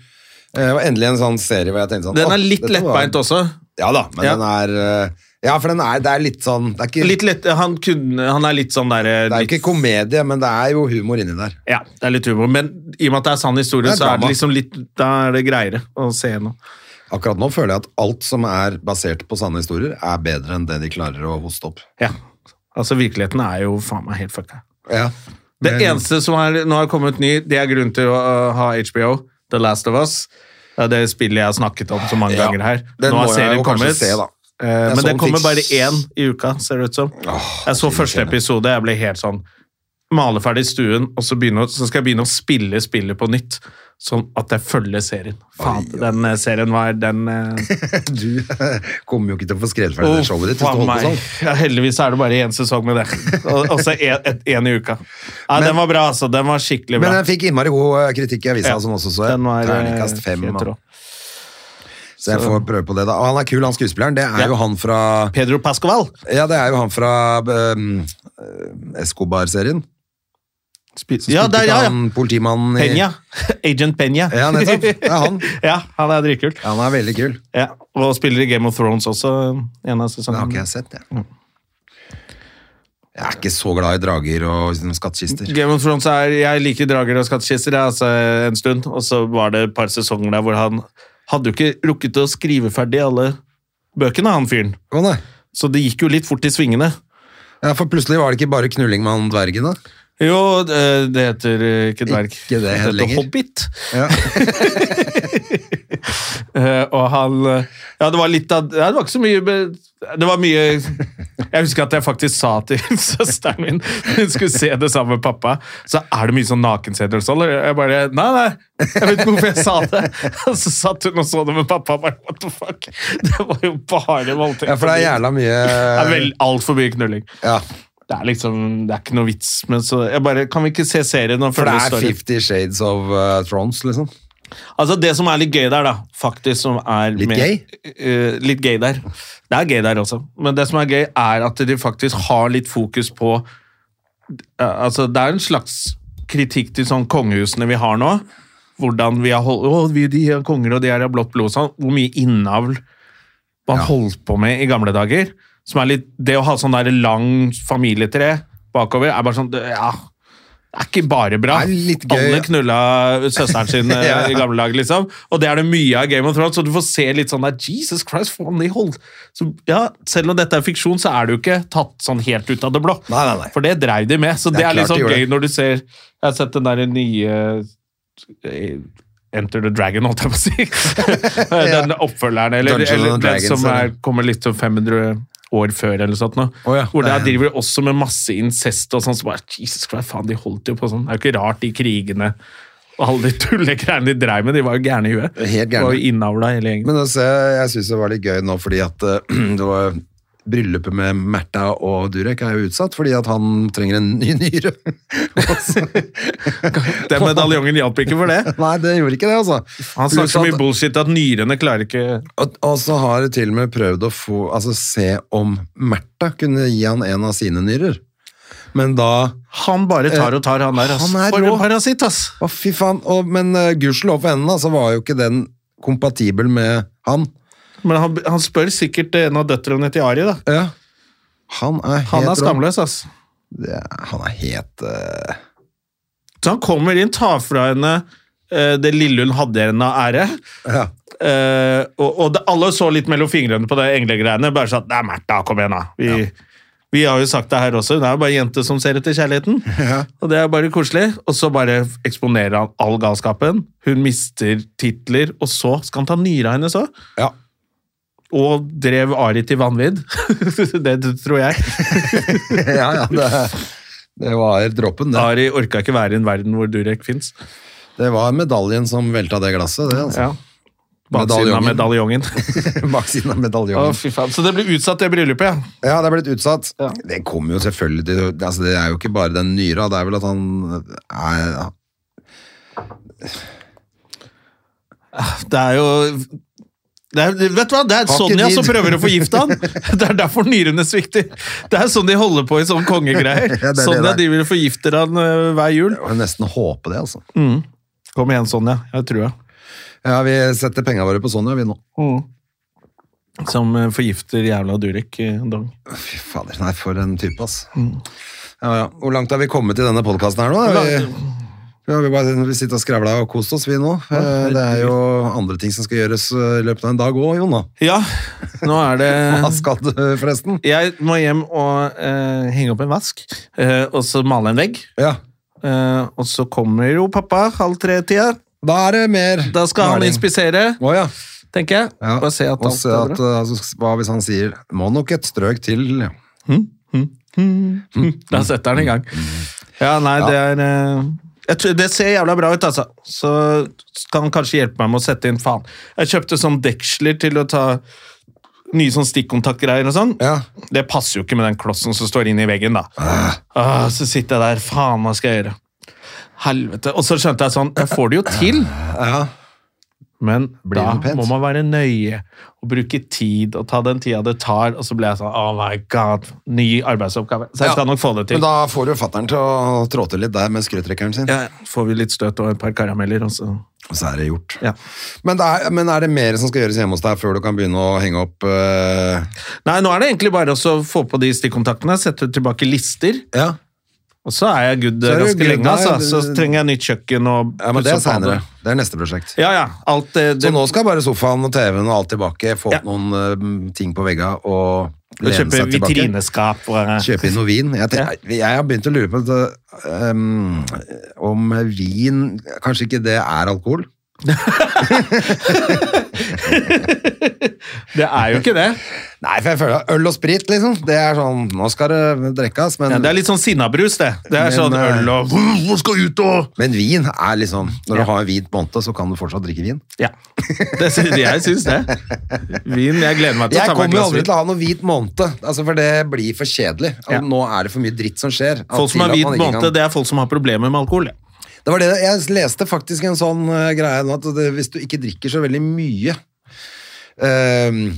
S1: Eh, Det var endelig en sånn serie hvor jeg tenkte sånn
S2: Den
S1: «Åh,
S2: er litt
S1: dette var-
S2: lettbeint også.
S1: Ja da, men
S2: Ja.
S1: den er eh, Ja, for den er, det er litt sånn Det er ikke,
S2: Litt lett, han, kunne, han er litt sånn der eh,
S1: det er jo
S2: litt-
S1: ikke komedie, men det er jo humor inni der.
S2: Ja, det er litt humor, men i og med at det er sann historie,
S1: Det er
S2: så er
S1: drama.
S2: det liksom litt Da er det greiere å se gjennom.
S1: Akkurat nå føler jeg at alt som er basert på sanne historier, er bedre enn det de klarer å hoste opp.
S2: Ja. Altså, virkeligheten er jo faen meg helt fucka.
S1: Ja.
S2: Det
S1: Men-
S2: eneste som er, nå har kommet ny, det er grunnen til å uh, ha HBO, The Last of Us. Det er det spillet jeg har snakket om så mange
S1: Ja.
S2: ganger her.
S1: Den
S2: nå har
S1: må jeg jo
S2: serien
S1: kanskje
S2: kommet.
S1: se, da. sånn
S2: Eh,
S1: Jeg så
S2: men det
S1: den
S2: kommer
S1: fikk-
S2: bare én i uka, ser det ut som. jeg så første episode, jeg ble helt sånn Male ferdig stuen, og så, begynne, å- så skal jeg begynne å spille spillet på nytt. Sånn at jeg følger serien. Faen, den eh, serien var den eh,
S1: Du kommer jo ikke til å få skrevet ferdig det
S2: Uff,
S1: showet ditt. hvis du
S2: faen
S1: holder
S2: meg.
S1: på sånn.
S2: Ja, heldigvis er det bare én sesong med det. Og, og så én i uka. Nei, den var bra, altså. Den var
S1: Men
S2: skikkelig
S1: jeg
S2: bra.
S1: fikk innmari god eh, kritikk i avisa,
S2: Ja,
S1: som også så jeg.
S2: den var, eh,
S1: Terningkast fem.
S2: helt
S1: mann.
S2: rå.
S1: Så jeg får prøve på det, da. Og han er kul, han skuespilleren. Det er
S2: Ja.
S1: jo han fra
S2: Pedro Pascoval
S1: Ja, det er jo han fra ehm, eh, Escobar-serien.
S2: ja, der, ja, ja.
S1: Han politimannen i
S2: Peña. Agent Peña.
S1: Ja, nettopp. Det er han.
S2: ja, han er dritkul.
S1: Ja, han er veldig kul.
S2: Ja. Og spiller i Game of Thrones også. En av
S1: Det har
S2: sesongene.
S1: ikke jeg sett,
S2: Mm.
S1: jeg. Jeg er ikke så glad i drager og sånne skattkister.
S2: Game of Thrones er, Jeg liker drager og skattkister jeg, altså, en stund, og så var det et par sesonger der hvor han hadde jo ikke rukket å skrive ferdig alle bøkene, han fyren.
S1: Å nei.
S2: Så det gikk jo litt fort i svingene.
S1: Ja, for plutselig var det ikke bare knulling med han dvergen, da.
S2: Jo, eh, det heter eh, ikke dverg.
S1: Ikke det
S2: heter
S1: lenger.
S2: Hobbit.
S1: Ja.
S2: Eh, og han eh, Ja, det var litt av Ja, det var ikke så mye be- Det var mye Jeg husker at jeg faktisk sa til søsteren min hun skulle se det sammen med pappa. Så er det mye sånn nakenseter og sånn. Og jeg bare Nei, nei. Jeg vet ikke hvorfor jeg sa det. Og så satt hun og så det med pappa. og Bare, What the fuck? Det var jo bare voldtekt.
S1: Ja, for det er jævla mye
S2: Det er vel altfor mye knulling.
S1: ja,
S2: Det er liksom Det er ikke noe vits. Men så jeg bare Kan vi ikke se serien og
S1: For
S2: følge
S1: det er
S2: storyen?
S1: Fifty Shades of uh, Thrones, liksom.
S2: Altså Det som er litt gøy der, da, faktisk som er
S1: Litt gøy?
S2: Eh, litt gøy der. Det er gøy der også, men det som er gøy, er at de faktisk har litt fokus på eh, Altså Det er en slags kritikk til sånn kongehusene vi har nå. Hvordan vi har holdt, å, vi, de er konger og de er av blått blod og sånn. Hvor mye innavl man holdt på med i gamle dager. Som er litt, det å ha sånn der lang familietre bakover er bare sånn det- ja, det er ikke bare bra.
S1: Det er litt gøy.
S2: Alle knulla søsteren sin eh,
S1: Ja.
S2: i gamle dager, liksom. Og det er det mye av Game of Thrones, så du får se litt sånn der Jesus Christ, faen, de hold. Så, ja, selv om dette er fiksjon, så er det jo ikke tatt sånn helt ut av det blå.
S1: Nei, nei, nei.
S2: For det dreiv de med, så
S1: Det
S2: det,
S1: er
S2: er
S1: klart
S2: litt
S1: de
S2: sånn
S1: gjorde
S2: gøy
S1: det.
S2: når du ser Jeg har sett den der nye eh, Enter the Dragon, holdt jeg på å si. den oppfølgeren, eller,
S1: Dungeons and
S2: eller den
S1: Dragons,
S2: som er,
S1: eller?
S2: kommer litt sånn 500 år før, eller noe sånt. Nå,
S1: Å ja,
S2: hvor
S1: det
S2: der
S1: er-
S2: driver de også med masse incest og sånn. Så bare, Jesus Christ, faen, de holdt jo på sånn. Det er jo ikke rart, de krigene og alle de tullegreiene de dreiv med, de var jo gærne i huet.
S1: Helt gærne.
S2: Og innavla hele gjengen.
S1: Men altså, jeg syns det var litt gøy nå fordi at eh, det var Bryllupet med Märtha og Durek er jo utsatt fordi at han trenger en ny nyre. Og så-
S2: Den medaljongen hjalp ikke for det.
S1: Nei, det gjorde ikke det, altså.
S2: Han snakker så
S1: Pluss
S2: mye
S1: at-
S2: bullshit at nyrene klarer ikke
S1: Og, og så har jeg til og med prøvd å få, altså, se om Märtha kunne gi han en av sine nyrer. Men da
S2: Han bare tar og tar, Eh, han der. Ass.
S1: Han er
S2: For
S1: rå.
S2: en parasitt, ass!
S1: Å, fy faen. Og, men uh, gudskjelov for henne, da, så var jo ikke den kompatibel med han.
S2: Men han, han spør sikkert en av døtrene til Ari, da.
S1: Ja. Han er helt
S2: Han
S1: rå.
S2: er skamløs, ass.
S1: Det er- han er helt eh,
S2: Så han kommer inn, tar fra henne eh, det lille hun hadde igjen av ære.
S1: ja.
S2: Eh, og og det, alle så litt mellom fingrene på det englegreiene. Bare sånn Det er Märtha, kom igjen, da. Vi, vi har jo sagt det her også. Hun er jo bare en jente som ser etter kjærligheten. Og det er bare koselig. Og så bare eksponerer han all galskapen. Hun mister titler, og så skal han ta nyra hennes òg.
S1: ja.
S2: Og drev Ari til vanvidd. det tror jeg.
S1: ja, ja, det, det var dråpen, det.
S2: Ari orka ikke være i en verden hvor Durek fins.
S1: Det var medaljen som velta det glasset, det, altså.
S2: Ja. Baksiden av medaljongen.
S1: Baksiden av
S2: Å,
S1: medaljongen.
S2: fy faen. Så det ble utsatt, det bryllupet, ja.
S1: Ja, det er blitt utsatt.
S2: Ja.
S1: Det kommer jo selvfølgelig til altså Det er jo ikke bare den nyra, det er vel at han eh, er,
S2: Det er jo det er, vet du hva? Det er
S1: Har ikke
S2: Sonja
S1: tid.
S2: som prøver å forgifte han! Det er derfor nyrene svikter. Det er sånn de holder på i sånne kongegreier.
S1: Ja, det er det
S2: Sonja
S1: der.
S2: driver og forgifter han øh, hver jul.
S1: Jeg vil nesten håpe det, altså.
S2: Mm. Kom igjen, Sonja. Jeg tror jeg.
S1: Ja, Vi setter penga våre på Sonja, vi nå.
S2: Mm. Som øh, forgifter jævla Durek øh, Dong.
S1: Fy fader, nei, for en type, ass.
S2: Mm.
S1: Ja, ja. Hvor langt har vi kommet i denne podkasten her nå? da? Vi, ja, vi, bare, vi sitter og skravla og kost oss, vi nå. Eh, Det er jo andre ting som skal gjøres eh, i løpet av en dag òg, Jon. da.
S2: Ja, nå er det
S1: Hva skal du, forresten?
S2: Jeg må hjem og øh, henge opp en vask, øh, og så male en vegg.
S1: Ja,
S2: Eh, og så kommer jo pappa halv tre-tida.
S1: Da er det mer
S2: Da skal han
S1: maling.
S2: inspisere,
S1: Å ja.
S2: tenker jeg.
S1: ja.
S2: Og se at
S1: Og
S2: alt
S1: se
S2: er
S1: at,
S2: bra.
S1: eh, altså, hva hvis han sier 'må nok et strøk til'? eh,
S2: Da setter han i gang.
S1: Mm.
S2: Ja, nei, det er eh, jeg tror, Det ser jævla bra ut, altså. Så skal han kanskje hjelpe meg med å sette inn faen. Jeg kjøpte sånn deksler til å ta nye sånn stikkontaktgreier og sånn.
S1: Ja.
S2: Det passer jo ikke med den klossen som står inni veggen, da. Ah, så sitter jeg der. Faen, hva skal jeg gjøre? Helvete. Og så skjønte jeg sånn Jeg får det jo til.
S1: ja.
S2: Men
S1: Blir den
S2: da
S1: pent?
S2: må man være nøye og bruke tid og ta den tida det tar. Og så ble jeg sånn Oh my god, ny arbeidsoppgave. Så jeg skal nok få det
S1: Men
S2: til.
S1: da får du fatter'n til å trå til litt der med skrutrekkeren sin,
S2: Ja, får vi litt støt og et par karameller, og så
S1: og så er det gjort.
S2: ja.
S1: Men, det er, men er det mer som skal gjøres hjemme hos deg før du kan begynne å henge opp eh,
S2: Nei, nå er det egentlig bare også å få på de stikkontaktene, sette tilbake lister,
S1: Ja,
S2: og så er jeg good
S1: Så er du
S2: ganske
S1: good,
S2: lenge.
S1: nei,
S2: Altså. Så
S1: det-
S2: trenger jeg nytt kjøkken og
S1: ja men det
S2: pusse
S1: er
S2: opp badet.
S1: senere. Det er neste prosjekt.
S2: Ja, ja. Alt eh, det,
S1: Så
S2: det
S1: nå skal bare sofaen og TV-en og alt tilbake, få
S2: Ja.
S1: opp noen eh, ting på vegga og
S2: å
S1: lene
S2: kjøpe
S1: seg tilbake.
S2: vitrineskap og
S1: Kjøpe inn noe vin. Jeg, tenker, jeg har begynt å lure på at, eh, om vin Kanskje ikke det er alkohol?
S2: Det er jo ikke det.
S1: Nei, for jeg føler at øl og sprit, liksom. Det er sånn Nå skal det drikkes, men,
S2: Ja, det er litt sånn sinnabrus, det. Det er
S1: Men,
S2: sånn
S1: eh,
S2: øl og Hvor skal ut og
S1: men vin er liksom Når
S2: Ja.
S1: du har en hvit måned, så kan du fortsatt drikke vin.
S2: Ja. Det syns, jeg syns det. Vin Jeg gleder meg til å
S1: Jeg
S2: ta meg et
S1: kommer jo
S2: glass
S1: aldri
S2: vin.
S1: til å ha noe hvit måned, altså for det blir for kjedelig. Altså,
S2: Ja.
S1: Nå er det for mye dritt som skjer. at-
S2: Folk som har
S1: til at
S2: hvit
S1: man ikke kan-
S2: måned, det er folk som har problemer med alkohol. ja.
S1: Det var det, jeg leste faktisk en sånn eh, greie nå, at det, hvis du ikke drikker så veldig mye, ehm,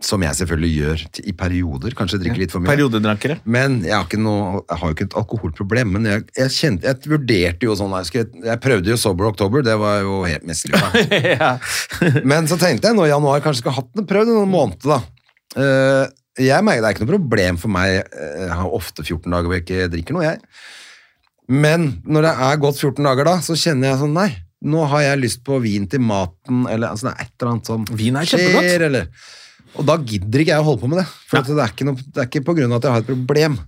S1: som jeg selvfølgelig gjør til, i perioder, kanskje drikker litt for mye.
S2: Periodedrankere.
S1: Men jeg har, ikke noe, jeg har jo ikke et alkoholproblem, men jeg, jeg, kjente, jeg vurderte jo sånn, jeg, skulle, jeg prøvde jo Sober Oktober, det var jo helt mislykka.
S2: ja.
S1: men så tenkte jeg nå i januar, kanskje skulle hatt den prøvd i noen måneder da. Eh, jeg merker det er ikke noe problem for meg, eh, jeg har ofte 14 dager hvor jeg ikke drikker noe, jeg. Men når det er gått 14 dager da, så kjenner jeg sånn, nei, nå har jeg lyst på vin til maten, eller altså, det er et eller annet som
S2: Vin er kjempegodt.
S1: skjer, eller... Og da gidder ikke jeg å holde på med det, for at det, er ikke noe, det er ikke på grunn av at jeg har et problem.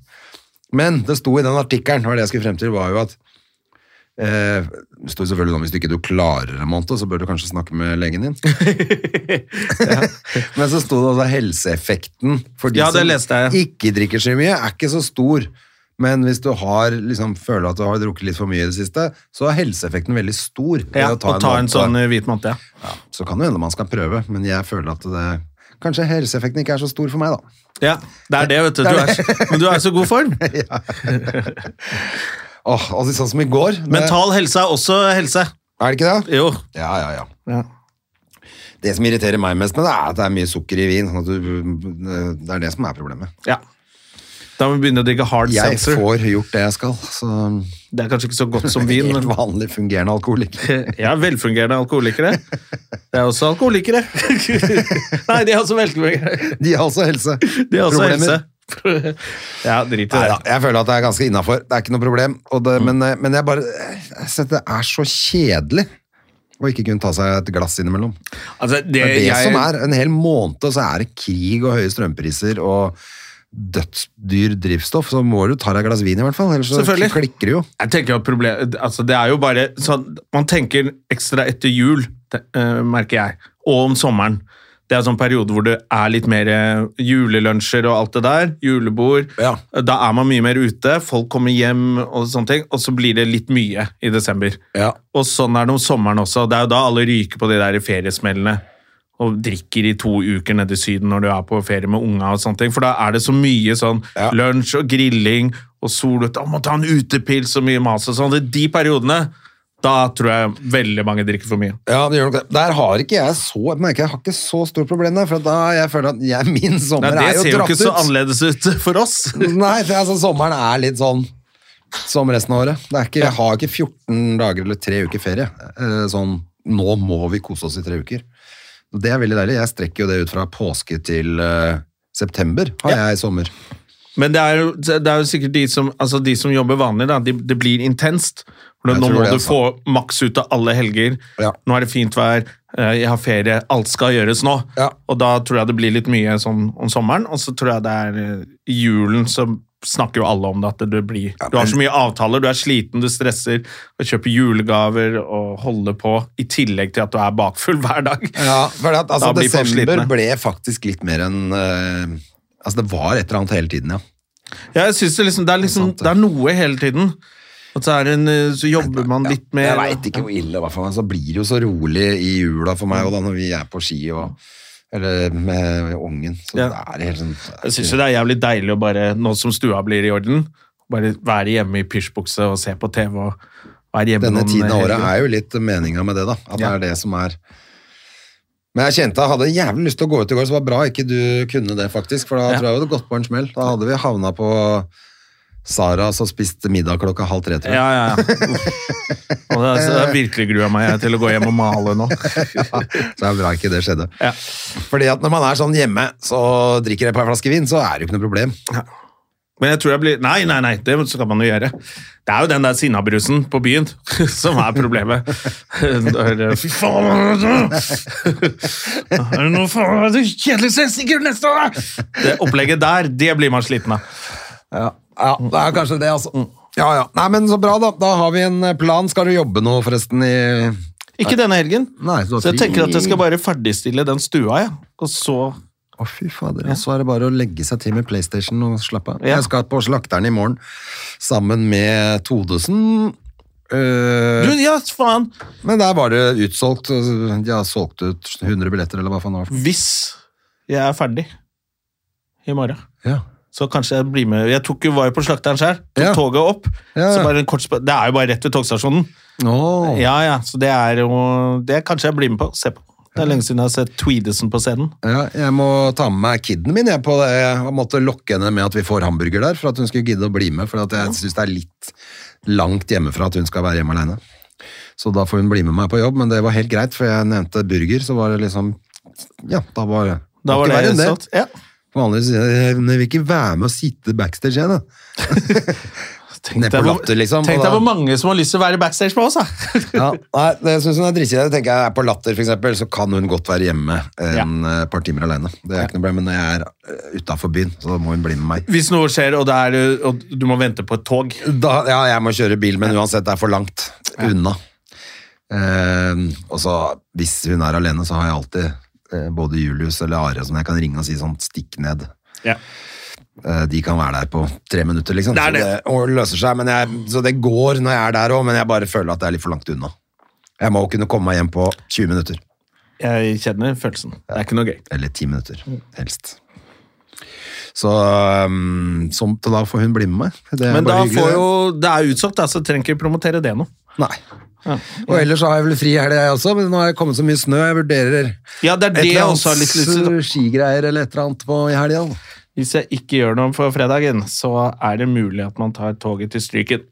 S1: Men det sto i den artikkelen, det var det jeg skulle frem til, var jo at eh, det sto jo selvfølgelig om hvis du ikke du klarer en måned, så bør du kanskje snakke med legen din. Men så sto det også helseeffekten for de
S2: Ja, det
S1: som
S2: leste jeg.
S1: ikke drikker så mye, er ikke så stor. Men hvis du har, liksom, føler at du har drukket litt for mye i det siste, så er helseeffekten veldig stor. ved
S2: ja.
S1: å ta
S2: Og ta
S1: måned.
S2: en sånn eh, hvit måned, ja.
S1: Ja, så kan det hende man skal prøve, men jeg føler at det, kanskje helseeffekten ikke er så stor for meg, da.
S2: Ja, det er det, vet du. du er, så- men du er i så god form.
S1: Åh, altså Sånn som i går. det-
S2: Mental helse er også helse.
S1: Er det ikke det?
S2: Jo.
S1: Ja, ja, ja. Det som irriterer meg mest med det, er at det er mye sukker i vin. Sånn at du, eh, det er det som er problemet.
S2: Ja. Da må vi begynne å drikke hard
S1: Jeg
S2: seltzer.
S1: får gjort det jeg skal, så
S2: Det er kanskje ikke så godt som vin,
S1: Helt
S2: men
S1: vanlig fungerende alkoholiker.
S2: jeg er velfungerende alkoholikere. Det er også alkoholikere. Nei, de er også velfungerende.
S1: De har også helse.
S2: De er også
S1: Problemer.
S2: helse. Ja, drit i
S1: Neida,
S2: det.
S1: jeg føler at det er ganske innafor. Det er ikke noe problem. Og det, men, eh, men jeg bare jeg synes Det er så kjedelig å ikke kunne ta seg et glass innimellom.
S2: Altså, det,
S1: Det er det
S2: jeg,
S1: som er. En hel måned så er det krig og høye strømpriser og dødsdyr drivstoff, så må du ta deg et glass vin i hvert fall. Ellers så
S2: Selvfølgelig.
S1: klikker det jo.
S2: Jeg tenker at problem, altså Det er jo bare sånn Man tenker ekstra etter jul, te- eh, merker jeg, og om sommeren. Det er en sånn periode hvor det er litt mer eh, julelunsjer og alt det der. Julebord.
S1: Ja.
S2: Da er man mye mer ute. Folk kommer hjem og sånne ting. Og så blir det litt mye i desember. Og sånn er det om sommeren også. Det er jo da alle ryker på de der feriesmellene og drikker i to uker nede i Syden når du er på ferie med unga og sånne ting. For da er det så mye sånn
S1: Ja.
S2: lunsj og grilling og sol ute. Å, Må ta en utepils og mye mas og sånn. Det er De periodene, da tror jeg veldig mange drikker for mye.
S1: Ja, det gjør nok det. Der har ikke jeg så jeg merker jeg har ikke så stort problem der, for da jeg føler at jeg, min
S2: Nei,
S1: sommer
S2: det
S1: er jo dratt ut.
S2: ser jo ikke så annerledes ut for oss.
S1: Nei, for altså, sommeren er litt sånn som resten av året. Det er ikke, jeg har ikke 14 dager eller tre uker ferie. Eh, Sånn, nå må vi kose oss i tre uker. Og Det er veldig deilig. Jeg strekker jo det ut fra påske til eh, september har jeg i sommer.
S2: Men det er jo, det er jo sikkert de som, altså de som jobber vanlig, da, de, det blir intenst. For
S1: Jeg
S2: Nå
S1: tror
S2: må
S1: det,
S2: du
S1: altså.
S2: få maks ut av alle helger.
S1: Ja.
S2: Nå er det fint vær, eh, jeg har ferie, alt skal gjøres nå.
S1: Ja.
S2: Og da tror jeg det blir litt mye sånn om sommeren, og så tror jeg det er eh, i julen så snakker jo alle om det, at det blir Du har så mye avtaler, du er sliten, du stresser, og kjøper julegaver og holder på, i tillegg til at du er bakfull hver dag.
S1: Ja, for at, altså,
S2: Da blir folk
S1: desember
S2: slitne.
S1: ble faktisk litt mer enn eh, Altså, det var et eller annet hele tiden, ja.
S2: Ja, jeg synes det, liksom, det, er liksom, det er noe hele tiden. At så, er det en, eh, så jobber man litt mer
S1: Jeg veit ikke hvor ille det var for meg. Så blir det jo så rolig i jula for meg og da når vi er på ski og eller med ungen. Så
S2: Ja.
S1: det er helt sånn
S2: Jeg syns det er jævlig deilig å bare, nå som stua blir i orden, bare være hjemme i pysjbukse og se på TV og være hjemme
S1: Denne
S2: noen
S1: tiden av året
S2: helger.
S1: er jo litt meninga med det, da. At det
S2: Ja.
S1: er det som er Men jeg kjente jeg hadde jævlig lyst til å gå ut i går, så det var bra ikke du kunne det, faktisk. For da
S2: Ja.
S1: tror jeg det hadde gått på en smell. Da hadde vi havna på Sara som spiste middag klokka halv tre, tror jeg.
S2: Ja, ja, ja. Uff. Og det, er- så det er virkelig grua meg jeg til å gå hjem og male nå.
S1: Så det er bra ikke det skjedde.
S2: Ja.
S1: Fordi at når man er sånn hjemme, så drikker jeg et par flasker vin, så er det jo ikke noe problem.
S2: Men jeg tror jeg blir Nei, nei, nei, det skal man jo gjøre. Det er jo den der sinnabrusen på byen som er problemet. Da er det, Fy faen! Er det noe faen er det kjedeligste sikkert neste år? da? Det opplegget der, det blir man sliten av.
S1: Ja, det er kanskje det, altså. Ja, ja. Nei, men så bra, da. Da har vi en plan. Skal du jobbe nå, forresten, i
S2: Ikke denne helgen.
S1: Nei, så
S2: så jeg
S1: fri.
S2: tenker at jeg skal bare ferdigstille den stua, jeg. Og så
S1: Å, fy fader. Og så er det bare å legge seg til med PlayStation og slappe av.
S2: Ja.
S1: Jeg skal på Slakteren i morgen sammen med Todesen. Eh,
S2: Du, ja, faen!
S1: men der var det utsolgt. og De har solgt ut 100 billetter, eller hva faen det var. for noe.
S2: Hvis jeg er ferdig i morgen,
S1: Ja.
S2: så kanskje jeg blir med. Jeg tok jo var jo på slakteren sjøl, tok
S1: Ja.
S2: toget opp.
S1: Ja, ja.
S2: Så bare en kort sp- det er jo bare rett ved togstasjonen.
S1: Åh.
S2: Ja, ja, så det er jo Det kanskje jeg blir med på. Se på. Det er lenge siden jeg har sett Tweedesen på scenen.
S1: Ja, jeg må ta med meg kiden min jeg, på det. Jeg måtte lokke henne med at vi får hamburger der, for at hun skulle gidde å bli med. For at jeg syns det er litt langt hjemmefra at hun skal være hjemme alene. Så da får hun bli med meg på jobb, men det var helt greit, for jeg nevnte burger, så var det liksom Ja, da var,
S2: Da var
S1: ikke verre
S2: det
S1: enn
S2: sånn. Ja.
S1: Vanligvis sier jeg jeg vil ikke være med og sitte backstage, jeg, da.
S2: Tenk
S1: Ned
S2: deg
S1: på
S2: hvor-
S1: latter, liksom,
S2: Tenk
S1: og da-
S2: deg hvor mange som har lyst til å være backstage med oss, da!
S1: Ja, nei, det syns hun er drittkjedelig. Jeg Tenker jeg er på Latter, for eksempel, så kan hun godt være hjemme en eh, par timer alene. Det er ikke noe problem, men når jeg er utafor byen, så må hun bli med meg.
S2: Hvis noe skjer, og, det er, og du må vente på et tog.
S1: Da, ja, jeg må kjøre bil, men uansett, det er for langt unna. Eh, og så, hvis hun er alene, så har jeg alltid eh, både Julius eller Are som jeg kan ringe og si sånn, stikk ned.
S2: Ja.
S1: Eh, de kan være der på tre minutter, liksom.
S2: Det er
S1: Så
S2: det.
S1: og løser seg, men jeg, så det går når jeg er der òg, men jeg bare føler at det er litt for langt unna. Jeg må kunne komme meg hjem på 20 minutter.
S2: Jeg kjenner følelsen. Det er ikke noe gøy.
S1: Eller ti minutter,
S2: Mm.
S1: helst. Så, um, som, så da får hun bli med meg. Det er
S2: Men da
S1: bare hyggelig,
S2: får
S1: det.
S2: jo Det er utsolgt, da, så trenger ikke promotere det nå.
S1: Nei. Og ellers så har jeg vel fri i helga, jeg også, men nå har jeg kommet så mye snø. Jeg vurderer
S2: Ja, det er
S1: et
S2: det jeg
S1: eller
S2: også har litt lyst til.
S1: annet skigreier eller et eller annet på i helga. da.
S2: Hvis jeg ikke gjør noe for fredagen, så er det mulig at man tar toget til Stryken.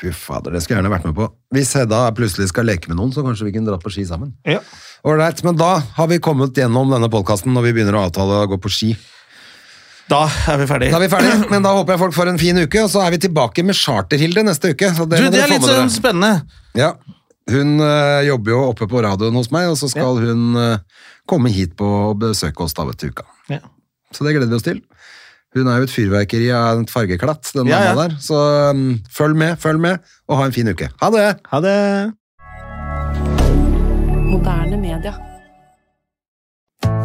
S1: Fy fader, det skulle jeg gjerne vært med på. Hvis Hedda plutselig skal leke med noen, så kanskje vi kunne dratt på ski sammen.
S2: Ja.
S1: Ålreit, men da har vi kommet gjennom denne podkasten når vi begynner å avtale å gå på ski.
S2: Da er vi ferdige.
S1: Da er vi ferdige, men da håper jeg folk får en fin uke, og så er vi tilbake med Charter-Hilde neste uke. Så det
S2: Du,
S1: må
S2: det
S1: dere
S2: er
S1: få
S2: litt
S1: med dere.
S2: sånn spennende.
S1: Ja, hun øh, jobber jo oppe på radioen hos meg, og så skal hun øh, komme hit på og besøke oss da til uka.
S2: Ja.
S1: Så det gleder vi oss til. Hun er jo et fyrverkeri av en fargeklatt, den
S2: Ja, ja.
S1: dama der. Så øhm, følg med, følg med, og ha en fin uke. Ha det!
S2: Ha det.
S3: Moderne media.